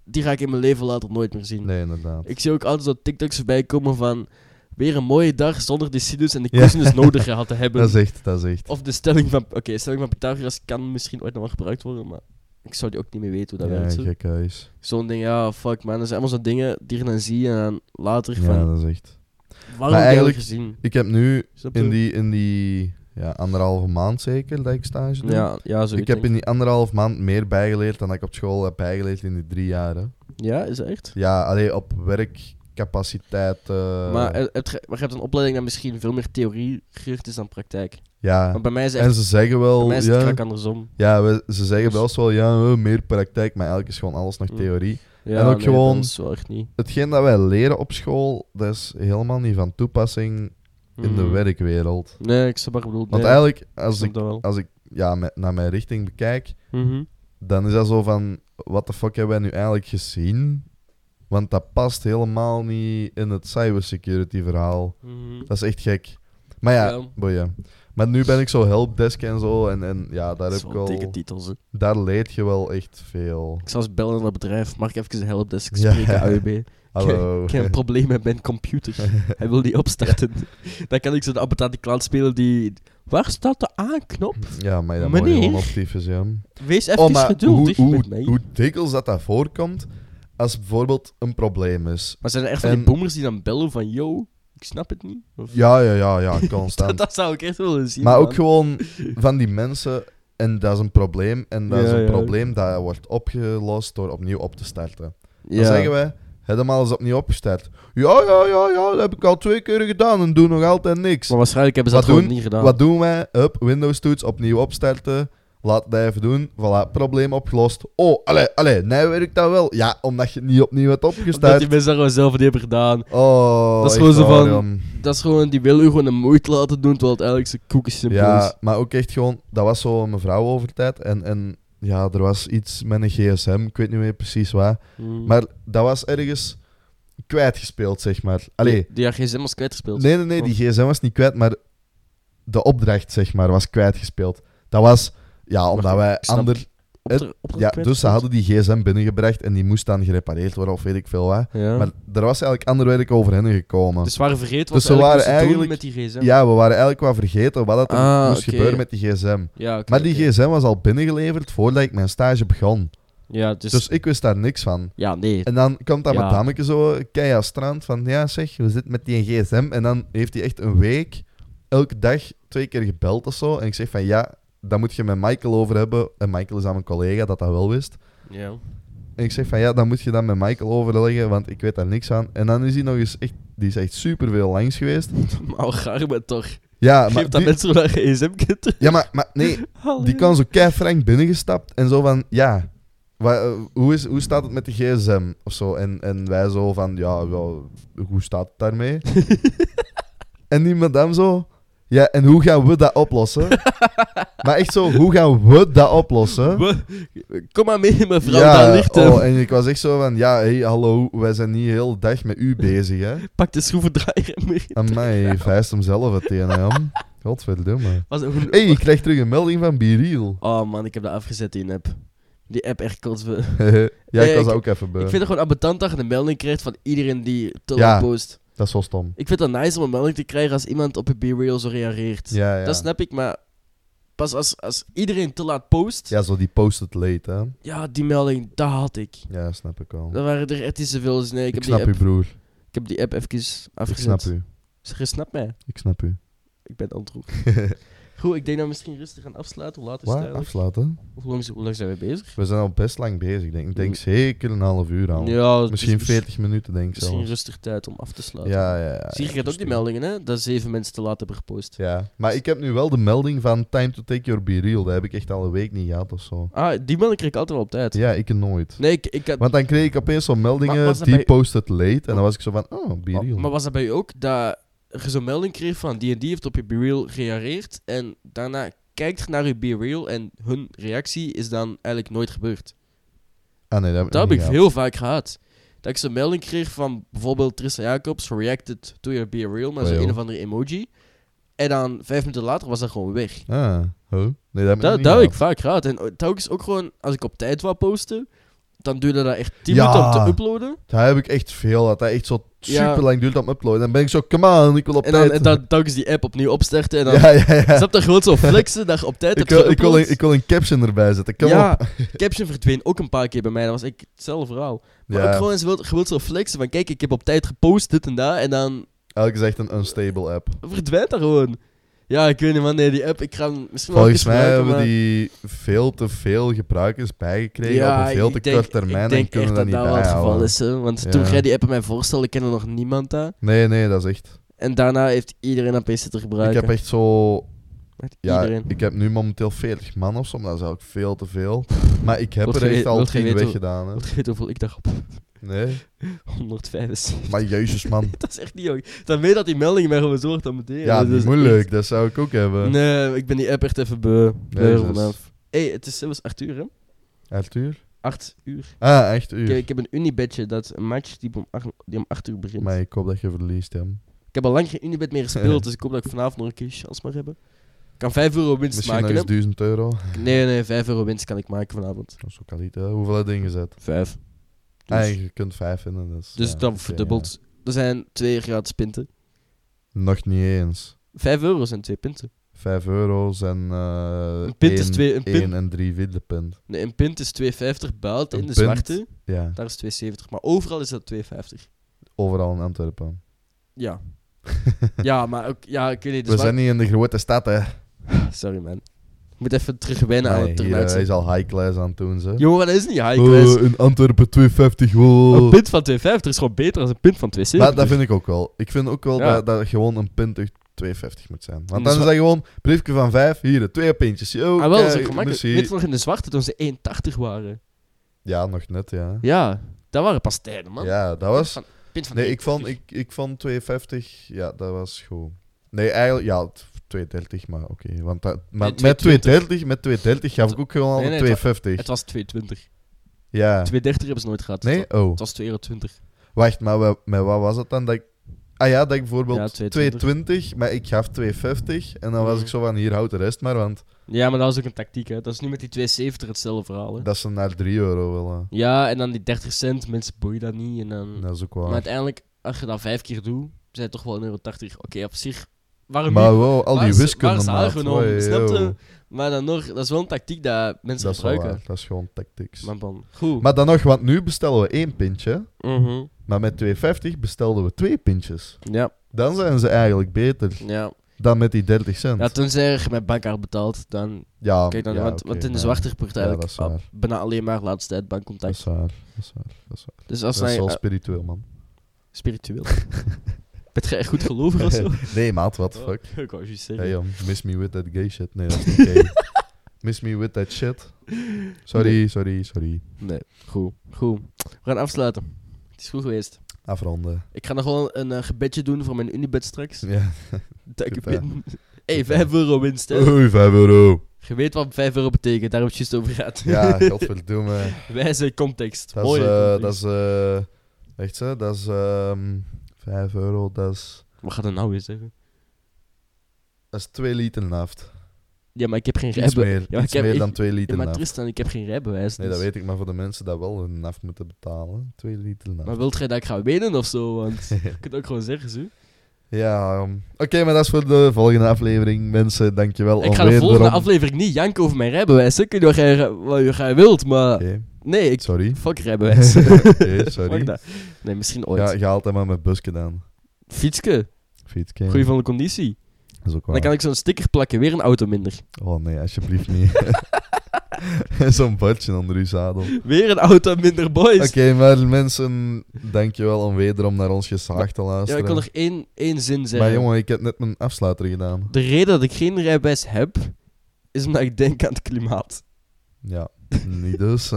A: die ga ik in mijn leven later nooit meer zien.
B: Nee, inderdaad.
A: Ik zie ook altijd zo TikToks voorbij komen van, weer een mooie dag zonder de sinus en de
B: Ja.
A: cosinus nodig gehad te hebben.
B: Dat is echt, dat is echt.
A: Of de stelling van... Oké, de stelling van Pythagoras kan misschien ooit nog wel gebruikt worden, maar ik zou die ook niet meer weten hoe dat
B: ja,
A: werkt. zo.
B: gek huis.
A: Zo'n ding, ja, fuck man. Dat zijn allemaal zo'n dingen die je dan ziet en dan later
B: Ja,
A: van...
B: dat is echt.
A: Waarom heb je dat
B: eigenlijk-
A: gezien?
B: Ik heb nu
A: Snap je?
B: in die, in die ja, anderhalve maand zeker dat ik stage doe.
A: Ja, ja, zo.
B: ik heb in die anderhalf maand meer bijgeleerd dan ik op school heb bijgeleerd in die drie jaren.
A: Ja, is dat echt?
B: Ja, alleen op werkcapaciteit. eh,
A: maar, eh, heb je, maar je hebt een opleiding dat misschien veel meer theorie gericht is dan praktijk.
B: ja.
A: Want bij mij is, het echt,
B: En ze zeggen
A: bij
B: wel.
A: mij is het
B: Ja,
A: krak andersom.
B: ja we- ze zeggen best wel ja, eh, meer praktijk, maar eigenlijk is gewoon alles nog
A: Mm.
B: theorie.
A: Ja,
B: En ook
A: nee,
B: gewoon-
A: Dat is wel echt niet.
B: Hetgeen dat wij leren op school, dat is helemaal niet van toepassing in de
A: Mm.
B: werkwereld.
A: Nee, ik snap wat je bedoelt.
B: Want
A: nee,
B: eigenlijk,
A: ik
B: als
A: snap
B: ik,
A: dat wel.
B: als ik ja, met, naar mijn richting bekijk,
A: Mhm.
B: dan is dat zo van, wat de fuck hebben wij nu eigenlijk gezien? Want dat past helemaal niet in het cybersecurity verhaal.
A: Mhm.
B: Dat is echt gek. Maar ja,
A: Ja.
B: boeien. Maar nu ben ik zo helpdesk en zo. En, en ja, daar,
A: Dat
B: heb
A: is
B: ik
A: wel dikke
B: wel,
A: titels, hè.
B: daar leed je wel echt veel.
A: Ik zal eens bellen naar het bedrijf. Mag ik even een helpdesk
B: Ja.
A: spreken, AUB?
B: Hallo.
A: Ik heb een probleem met mijn computer. Hij wil die opstarten. Dan kan ik zo de appetante klant spelen die... Waar staat de A-knop?
B: Ja, maar dat moet je
A: Meneer?
B: gewoon optyfus, ja.
A: Wees even
B: Oh, maar hoe,
A: geduldig
B: hoe,
A: met mij.
B: hoe dikwijls dat dat voorkomt, als bijvoorbeeld een probleem is.
A: maar zijn er echt van die
B: en-
A: boomers die dan bellen van... Yo, ik snap het niet. Of-
B: Ja, ja, ja, ja, constant.
A: dat, dat zou ik echt willen zien,
B: Maar
A: man.
B: ook gewoon van die mensen. En dat is een probleem. En dat is
A: Ja,
B: een
A: ja.
B: probleem dat wordt opgelost door opnieuw op te starten. Dan
A: Ja.
B: zeggen wij, helemaal eens opnieuw opgestart. Ja, ja, ja, ja, dat heb ik al twee keer gedaan en doe nog altijd niks.
A: Maar waarschijnlijk hebben ze
B: Wat
A: dat gewoon
B: doen?
A: niet gedaan.
B: Wat doen wij? Hup, Windows-toets, opnieuw opstarten. Laat dat even doen. Voilà, probleem opgelost. Oh, allee, allee, nee, werkt dat wel? Ja, omdat je het niet opnieuw hebt
A: Omdat
B: opgestart.
A: die mensen dat gewoon zelf niet hebben gedaan.
B: Oh,
A: Dat is
B: echt
A: gewoon zo
B: waar,
A: van-
B: jong.
A: Dat is gewoon... Die willen u gewoon een moeite laten doen, terwijl het eigenlijk zo koekensimpel is.
B: Ja, maar ook echt gewoon, dat was zo een mevrouw over tijd. En, en ja, er was iets met een gsm, ik weet niet meer precies waar.
A: Mm.
B: Maar dat was ergens kwijtgespeeld, zeg maar. Allee,
A: Die had geen zin als kwijtgespeeld.
B: nee, nee, nee, die gsm was niet kwijt, maar de opdracht, zeg maar, was kwijtgespeeld. Dat was, ja, omdat
A: Wacht,
B: wij
A: ik snap
B: ander...
A: Op de- op de
B: Ja,
A: kwijt-
B: dus ze hadden die gsm binnengebracht en die moest dan gerepareerd worden of weet ik veel wat.
A: Ja.
B: Maar er was eigenlijk ander werk over hen gekomen.
A: Dus ze waren vergeten wat
B: Dus
A: ze
B: ze
A: eigenlijk
B: waren
A: moesten doen
B: eigenlijk-
A: met die gsm.
B: Ja, we waren eigenlijk wel vergeten wat dat er
A: Ah,
B: moest
A: oké.
B: gebeuren met die gsm.
A: Ja, oké,
B: Maar die
A: oké.
B: gsm was al binnengeleverd voordat ik mijn stage begon.
A: Ja, dus...
B: Dus, ik wist daar niks van.
A: Ja, nee.
B: En dan komt dat
A: Ja.
B: met dameke zo keihard strand van... Ja zeg, we zitten met die gsm. En dan heeft hij echt een week, elke dag, twee keer gebeld of zo. En ik zeg van ja, daar moet je met Michael over hebben. En Michael is aan mijn collega dat dat wel wist.
A: Ja.
B: En ik zeg van ja, dan moet je dat met Michael overleggen, want ik weet daar niks van. En dan is hij nog eens echt... Die is echt superveel langs geweest.
A: Maar gaar maar toch.
B: Ja, maar,
A: Geef dat
B: die-
A: mensen naar gsm kunt
B: ja, maar, maar nee, Die kan zo frank binnengestapt en zo van, ja, wa- eh, hoe, is, hoe staat het met de gsm of zo? En, en wij zo van, ja, wel, hoe staat het daarmee? en die madame zo, ja, en hoe gaan we dat oplossen? maar echt zo, hoe gaan we dat oplossen?
A: Kom maar mee, mevrouw, daar ligt hem.
B: oh, en ik was echt zo van, ja, hey, hallo, wij zijn niet heel de dag met u bezig, hè?
A: Pak de schroevendraaier en mee.
B: Amai, hij vijst hem zelf het een, hè, jong. Godverdomme.
A: Was het hoe-
B: Hé, hey, ik krijg terug een melding van Biriel.
A: Oh man, ik heb dat afgezet, die app. Die app echt kots.
B: Eh.
A: Ik
B: ja,
A: Nee,
B: ik was
A: Eh, ik-
B: dat ook even beu.
A: vind het gewoon ambetant dat je een melding krijgt van iedereen die te
B: Ja.
A: post.
B: Dat is zo stom.
A: Ik vind het nice om een melding te krijgen als iemand op je B-reel zo reageert.
B: Ja, ja.
A: Dat snap ik, maar pas als, als iedereen te laat post, ja.
B: Ja, zo die post-it late, hè?
A: die melding, dat had ik.
B: Ja, snap ik al.
A: Dat waren er echt niet zoveel. Dus nee, ik,
B: Oh. ik
A: heb
B: snap
A: die
B: u,
A: app,
B: broer.
A: ik heb die app even
B: Ik
A: afgezet.
B: snap u.
A: Zeg, je snapt mij.
B: Ik snap u.
A: Ik ben Androek. Goed, ik denk dat we misschien rustig gaan afsluiten. Hoe laat is het
B: Waar?
A: eigenlijk?
B: Afsluiten?
A: Hoe lang, hoe lang zijn we bezig?
B: We zijn al best lang bezig, denk ik. Ik denk
A: Mm.
B: zeker een half uur al.
A: Ja, dus
B: Misschien
A: mis-
B: 40 minuten, denk ik
A: Misschien
B: zelfs.
A: rustig tijd om af te sluiten.
B: Ja, ja, ja.
A: Zie je, je
B: ja,
A: hebt ook die
B: rustig.
A: meldingen, hè? Dat zeven mensen te laat hebben gepost.
B: Ja, maar ik heb nu wel de melding van time to take your be real. Dat heb ik echt al een week niet gehad of zo.
A: Ah, die melding kreeg ik altijd wel op tijd.
B: Ja, ik nooit.
A: Nee, ik, ik had...
B: Want dan kreeg ik opeens zo'n
A: Maar
B: meldingen,
A: was dat
B: die
A: bij-
B: posted late. En dan was ik zo van, oh, be
A: maar,
B: real.
A: maar was dat bij u ook dat je zo'n melding kreeg van die en die heeft op je BeReal gereageerd en daarna kijkt naar je BeReal en hun reactie is dan eigenlijk nooit gebeurd?
B: ah, nee, dat heb ik,
A: Dat heb
B: niet
A: ik
B: gehad.
A: heel vaak gehad. Dat ik zo'n melding kreeg van bijvoorbeeld Trissa Jacobs reacted to your BeReal met zo'n
B: Wel.
A: een of andere emoji. En dan vijf minuten later was dat gewoon weg.
B: Ah, huh? Nee, dat heb ik nog
A: Dat,
B: niet
A: dat heb ik
B: gehad.
A: vaak gehad. En eh, telkens ook gewoon, als ik op tijd wou posten, dan duurde dat echt 10
B: Ja.
A: minuten om te uploaden.
B: Daar heb ik echt veel. Dat dat echt zo
A: Ja.
B: super lang duurt om uploaden. Dan ben ik zo, come on, ik wil op
A: En dan,
B: tijd.
A: en dan telkens die app opnieuw opstarten en dan...
B: ja, ja, ja.
A: Snap dat gewoon zo flexen, dat je op tijd
B: Ik
A: hebt
B: wil, ik, wil
A: geüpload?
B: een, ik wil een caption erbij zetten. Kom
A: ja,
B: op.
A: caption verdween ook een paar keer bij mij. Dat was ik hetzelfde verhaal. Maar ook
B: Ja,
A: gewoon, eens wilt- je wilt zo flexen van kijk, ik heb op tijd gepost dit en dat. En dan
B: elke is echt een unstable app.
A: verdwijnt dat gewoon. Ja, ik weet niet, man. Nee, die app, ik ga hem misschien wel
B: Volgens
A: even
B: mij
A: gebruiken,
B: hebben
A: maar-
B: die veel te veel gebruikers bijgekregen
A: Ja,
B: op een veel
A: ik
B: te
A: denk-
B: korte termijn
A: Ik denk
B: en kunnen
A: echt dat
B: dat niet
A: dat wel het geval
B: bijhouden.
A: is, hè. Want
B: Ja.
A: toen jij die app aan mij voorstelde, kende nog niemand dat.
B: Nee, nee, dat is echt.
A: En daarna heeft iedereen dat PC te
B: Ik
A: gebruiken.
B: heb echt zo.
A: Echt
B: Ja,
A: iedereen.
B: ik heb nu momenteel 40 man of zo, maar dat is ook veel te veel. Maar ik heb
A: Wilt
B: er
A: je
B: echt
A: weten-
B: al
A: wilt je
B: 10
A: weten-
B: weggedaan. Hè.
A: Want je weet hoeveel ik daarop...
B: Nee,
A: 175.
B: maar jezus man.
A: Dat is echt niet jong. Dan weet dat die melding mij gewoon zorgt aan meteen.
B: Ja,
A: Dat is
B: niet moeilijk, dat zou ik ook hebben.
A: Nee, ik ben die app echt even beu. beu
B: Jezus.
A: vanaf. hey, het is zelfs 8 uur, hè?
B: Arthur?
A: 8 uur.
B: Ah, echt
A: Ik,
B: uur.
A: ik heb een unibedje, dat is een match die om 8, die om 8 uur begint.
B: Maar ik hoop dat je verliest hem.
A: Ik heb al lang geen unibed meer gespeeld, dus ik hoop dat ik vanavond nog een keer chance mag hebben. Ik kan 5 euro winst
B: Misschien nog
A: maken.
B: eens
A: hè?
B: 1000 euro.
A: Nee, nee, 5 euro winst kan ik maken vanavond.
B: Dat is ook al niet, hè. Hoeveel heb je ingezet?
A: 5. Dus,
B: Ah, je kunt 5 vinden. Dus,
A: dus
B: ja,
A: dan
B: oké,
A: verdubbeld. Er zijn 2 gratis pinten.
B: ja. eh, Nog niet eens.
A: 5 euro zijn 2 pinten.
B: 5 euro's en. eh,
A: Een pint is
B: één-
A: twee- een pint-
B: één en drie vierde pint.
A: Nee, een pint is 2,50 buiten in
B: Een
A: de
B: pint?
A: zwarte.
B: Ja,
A: Daar is 2,70. Maar overal is dat 2,50.
B: overal in Antwerpen.
A: Ja. ja, maar ook, ja, ik weet niet. de
B: We
A: zwarte-
B: zijn niet in de grote stad, hè?
A: Sorry, man. Ik moet even terugwennen aan
B: Nee,
A: het
B: hier, eh, hij
A: termijn.
B: is al high class aan het doen, ze.
A: Jongen, dat is niet high class.
B: Oh, in Antwerpen 250,
A: een
B: wow.
A: pint van 250 is gewoon beter dan een pint van 270.
B: Maar dat vind ik ook wel. Ik vind ook wel
A: Ja.
B: dat, dat gewoon een pint echt 250 moet zijn.
A: En
B: Want
A: de
B: dan is
A: zwa-
B: dat gewoon briefje van 5, hier, twee pintjes. Yo,
A: Ah, wel, dat is
B: kijk,
A: ook gemakkelijk.
B: merci.
A: Weet je nog in de zwarte toen ze 1,80 waren?
B: Ja, nog net, ja.
A: Ja, dat waren pas tijden, man.
B: Ja, dat was.
A: Van- Pint van
B: Nee, ik
A: 1,80.
B: vond, ik, ik vond 250, ja, dat was goed. Nee, eigenlijk, ja, t- 230, maar oké. want dat, maar
A: Nee, 220.
B: met 230, met 230 gaf ik ook gewoon al
A: Nee,
B: een
A: nee, het
B: 250.
A: Het was 2,20.
B: Ja.
A: 2,30 hebben ze nooit gehad. dus
B: Nee?
A: dat-
B: Oh.
A: Het was 2,20 euro.
B: Wacht, maar wa- met wat was het dan? Dat ik, ah ja, dat ik bijvoorbeeld
A: Ja,
B: 220.
A: 220.
B: maar ik gaf 250. En dan was
A: Mhm.
B: ik zo van, hier, houd de rest maar, want
A: Ja, maar dat was ook een tactiek, hè. Dat is nu met die 2,70 hetzelfde verhaal, hè.
B: dat ze naar 3 euro willen.
A: Ja, en dan die 30 cent, mensen boeien dat niet. En dan...
B: Dat is ook
A: Mm. Maar
B: waar.
A: uiteindelijk, als je dat vijf keer doet, zijn het toch wel 1,80 euro. Oké, op zich... Waarom niet?
B: Maar wow, al
A: Waar
B: die
A: is-
B: wiskunde,
A: Waar is
B: maat.
A: haar genomen?
B: Oei,
A: Snap je?
B: yo.
A: Maar dan nog, dat is wel een tactiek dat mensen
B: Dat is wel
A: gebruiken.
B: waar. Dat is gewoon tactics.
A: Maar bon, goed.
B: Maar dan nog, want nu bestellen we één pintje.
A: Mhm.
B: Maar met 250 bestelden we twee pintjes.
A: Ja,
B: Dan zijn ze eigenlijk beter
A: ja.
B: dan met die 30 cent.
A: Ja, tenzij je met bankkaart betaalt, dan...
B: Ja,
A: Kijk dan,
B: ja,
A: want,
B: oké,
A: want in de
B: ja.
A: zwarte gebeurt
B: Ja,
A: eigenlijk
B: dat is
A: ah,
B: waar.
A: bijna alleen maar laatste tijd
B: Dat
A: bankcontact.
B: is waar. Dat is waar. Dat is, waar.
A: Dus als
B: Dat is
A: wij...
B: wel
A: ah,
B: spiritueel, man.
A: spiritueel. Ben je echt goed gelovig of zo? Oh,
B: nee, maat, what the fuck.
A: Ik wou juist zeggen.
B: Hey, um, miss me with that gay shit. Nee, dat is niet gay. miss me with that shit. Sorry,
A: Nee.
B: sorry, sorry.
A: Nee, goed. Goed. We gaan afsluiten. Het is goed geweest.
B: Afronden.
A: Ik ga nog wel een eh, gebedje doen voor mijn unibed straks.
B: Ja.
A: Dat ik
B: Goed, hè.
A: win. Hey, 5 euro winst, hè.
B: Oei, 5 euro.
A: Je weet wat 5 euro betekent, daar heb je het juist over gehad.
B: Ja, godverdomme.
A: Wijze context.
B: Dat is,
A: Mooie
B: eh,
A: context.
B: dat is, eh, echt hè, dat is, ehm 5 euro, dat is,
A: Wat gaat dat nou weer zeggen?
B: dat is 2 liter naft.
A: Ja, maar ik heb geen
B: Iets
A: rijbewijs.
B: meer,
A: maar
B: iets
A: ik heb-
B: meer
A: ik-
B: dan 2
A: Ja,
B: liter
A: maar
B: naft.
A: Tristan, ik heb geen rijbewijs.
B: Nee, dat
A: dus-
B: weet ik, maar voor de mensen dat wel hun naft moeten betalen, 2 liter naft.
A: Maar wilt jij dat ik ga winnen of zo? Want je kunt ook gewoon zeggen, zo.
B: Ja, ehm, oké, maar dat is voor de volgende aflevering. Mensen, dankjewel.
A: ik ga
B: alweer
A: de volgende
B: erom.
A: aflevering niet janken over mijn rijbewijs. hè. Kun je wat jij, wat jij wilt, maar...
B: Oké,
A: Nee, ik...
B: sorry.
A: Fuck rijbewijs.
B: Oké,
A: Mag
B: sorry.
A: dat? Nee, misschien ooit.
B: Ja, ga altijd maar met bus gedaan.
A: Fietske.
B: Fietske.
A: Goeie van de conditie.
B: Dat is ook
A: Dan
B: waar.
A: kan ik zo'n sticker plakken, weer een auto minder.
B: Oh nee, alsjeblieft niet. En Zo'n bordje onder uw zadel. Oké,
A: Weer een auto minder, boys.
B: maar mensen, dankjewel om wederom naar ons gezaag te
A: ja,
B: luisteren.
A: ik kon nog één, één zin zeggen.
B: Maar jongen, ik heb net mijn afsluiter gedaan.
A: De reden dat ik geen rijbewijs heb, is omdat ik denk aan het klimaat.
B: Ja, niet dus.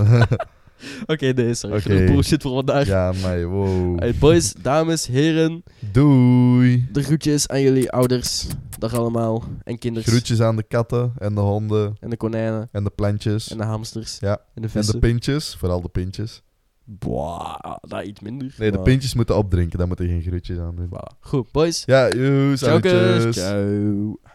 A: Oké, nee, sorry.
B: Oké.
A: Genoeg bullshit voor vandaag.
B: ja, maar wow.
A: Hey, boys, dames, heren.
B: Doei.
A: De groetjes aan jullie ouders. Dag allemaal. En kinderen.
B: Groetjes aan de katten en de honden
A: En de konijnen.
B: en de plantjes
A: En de hamsters.
B: Ja.
A: En de
B: en
A: vissen.
B: de pintjes. Vooral de pintjes.
A: Boah, dat iets minder.
B: Nee, de
A: maar-
B: pintjes moeten opdrinken, daar moeten geen groetjes aan doen.
A: Voilà. Goed, boys.
B: Ja, joes,
A: Ciao, kus.
B: salutjes.
A: Ciao.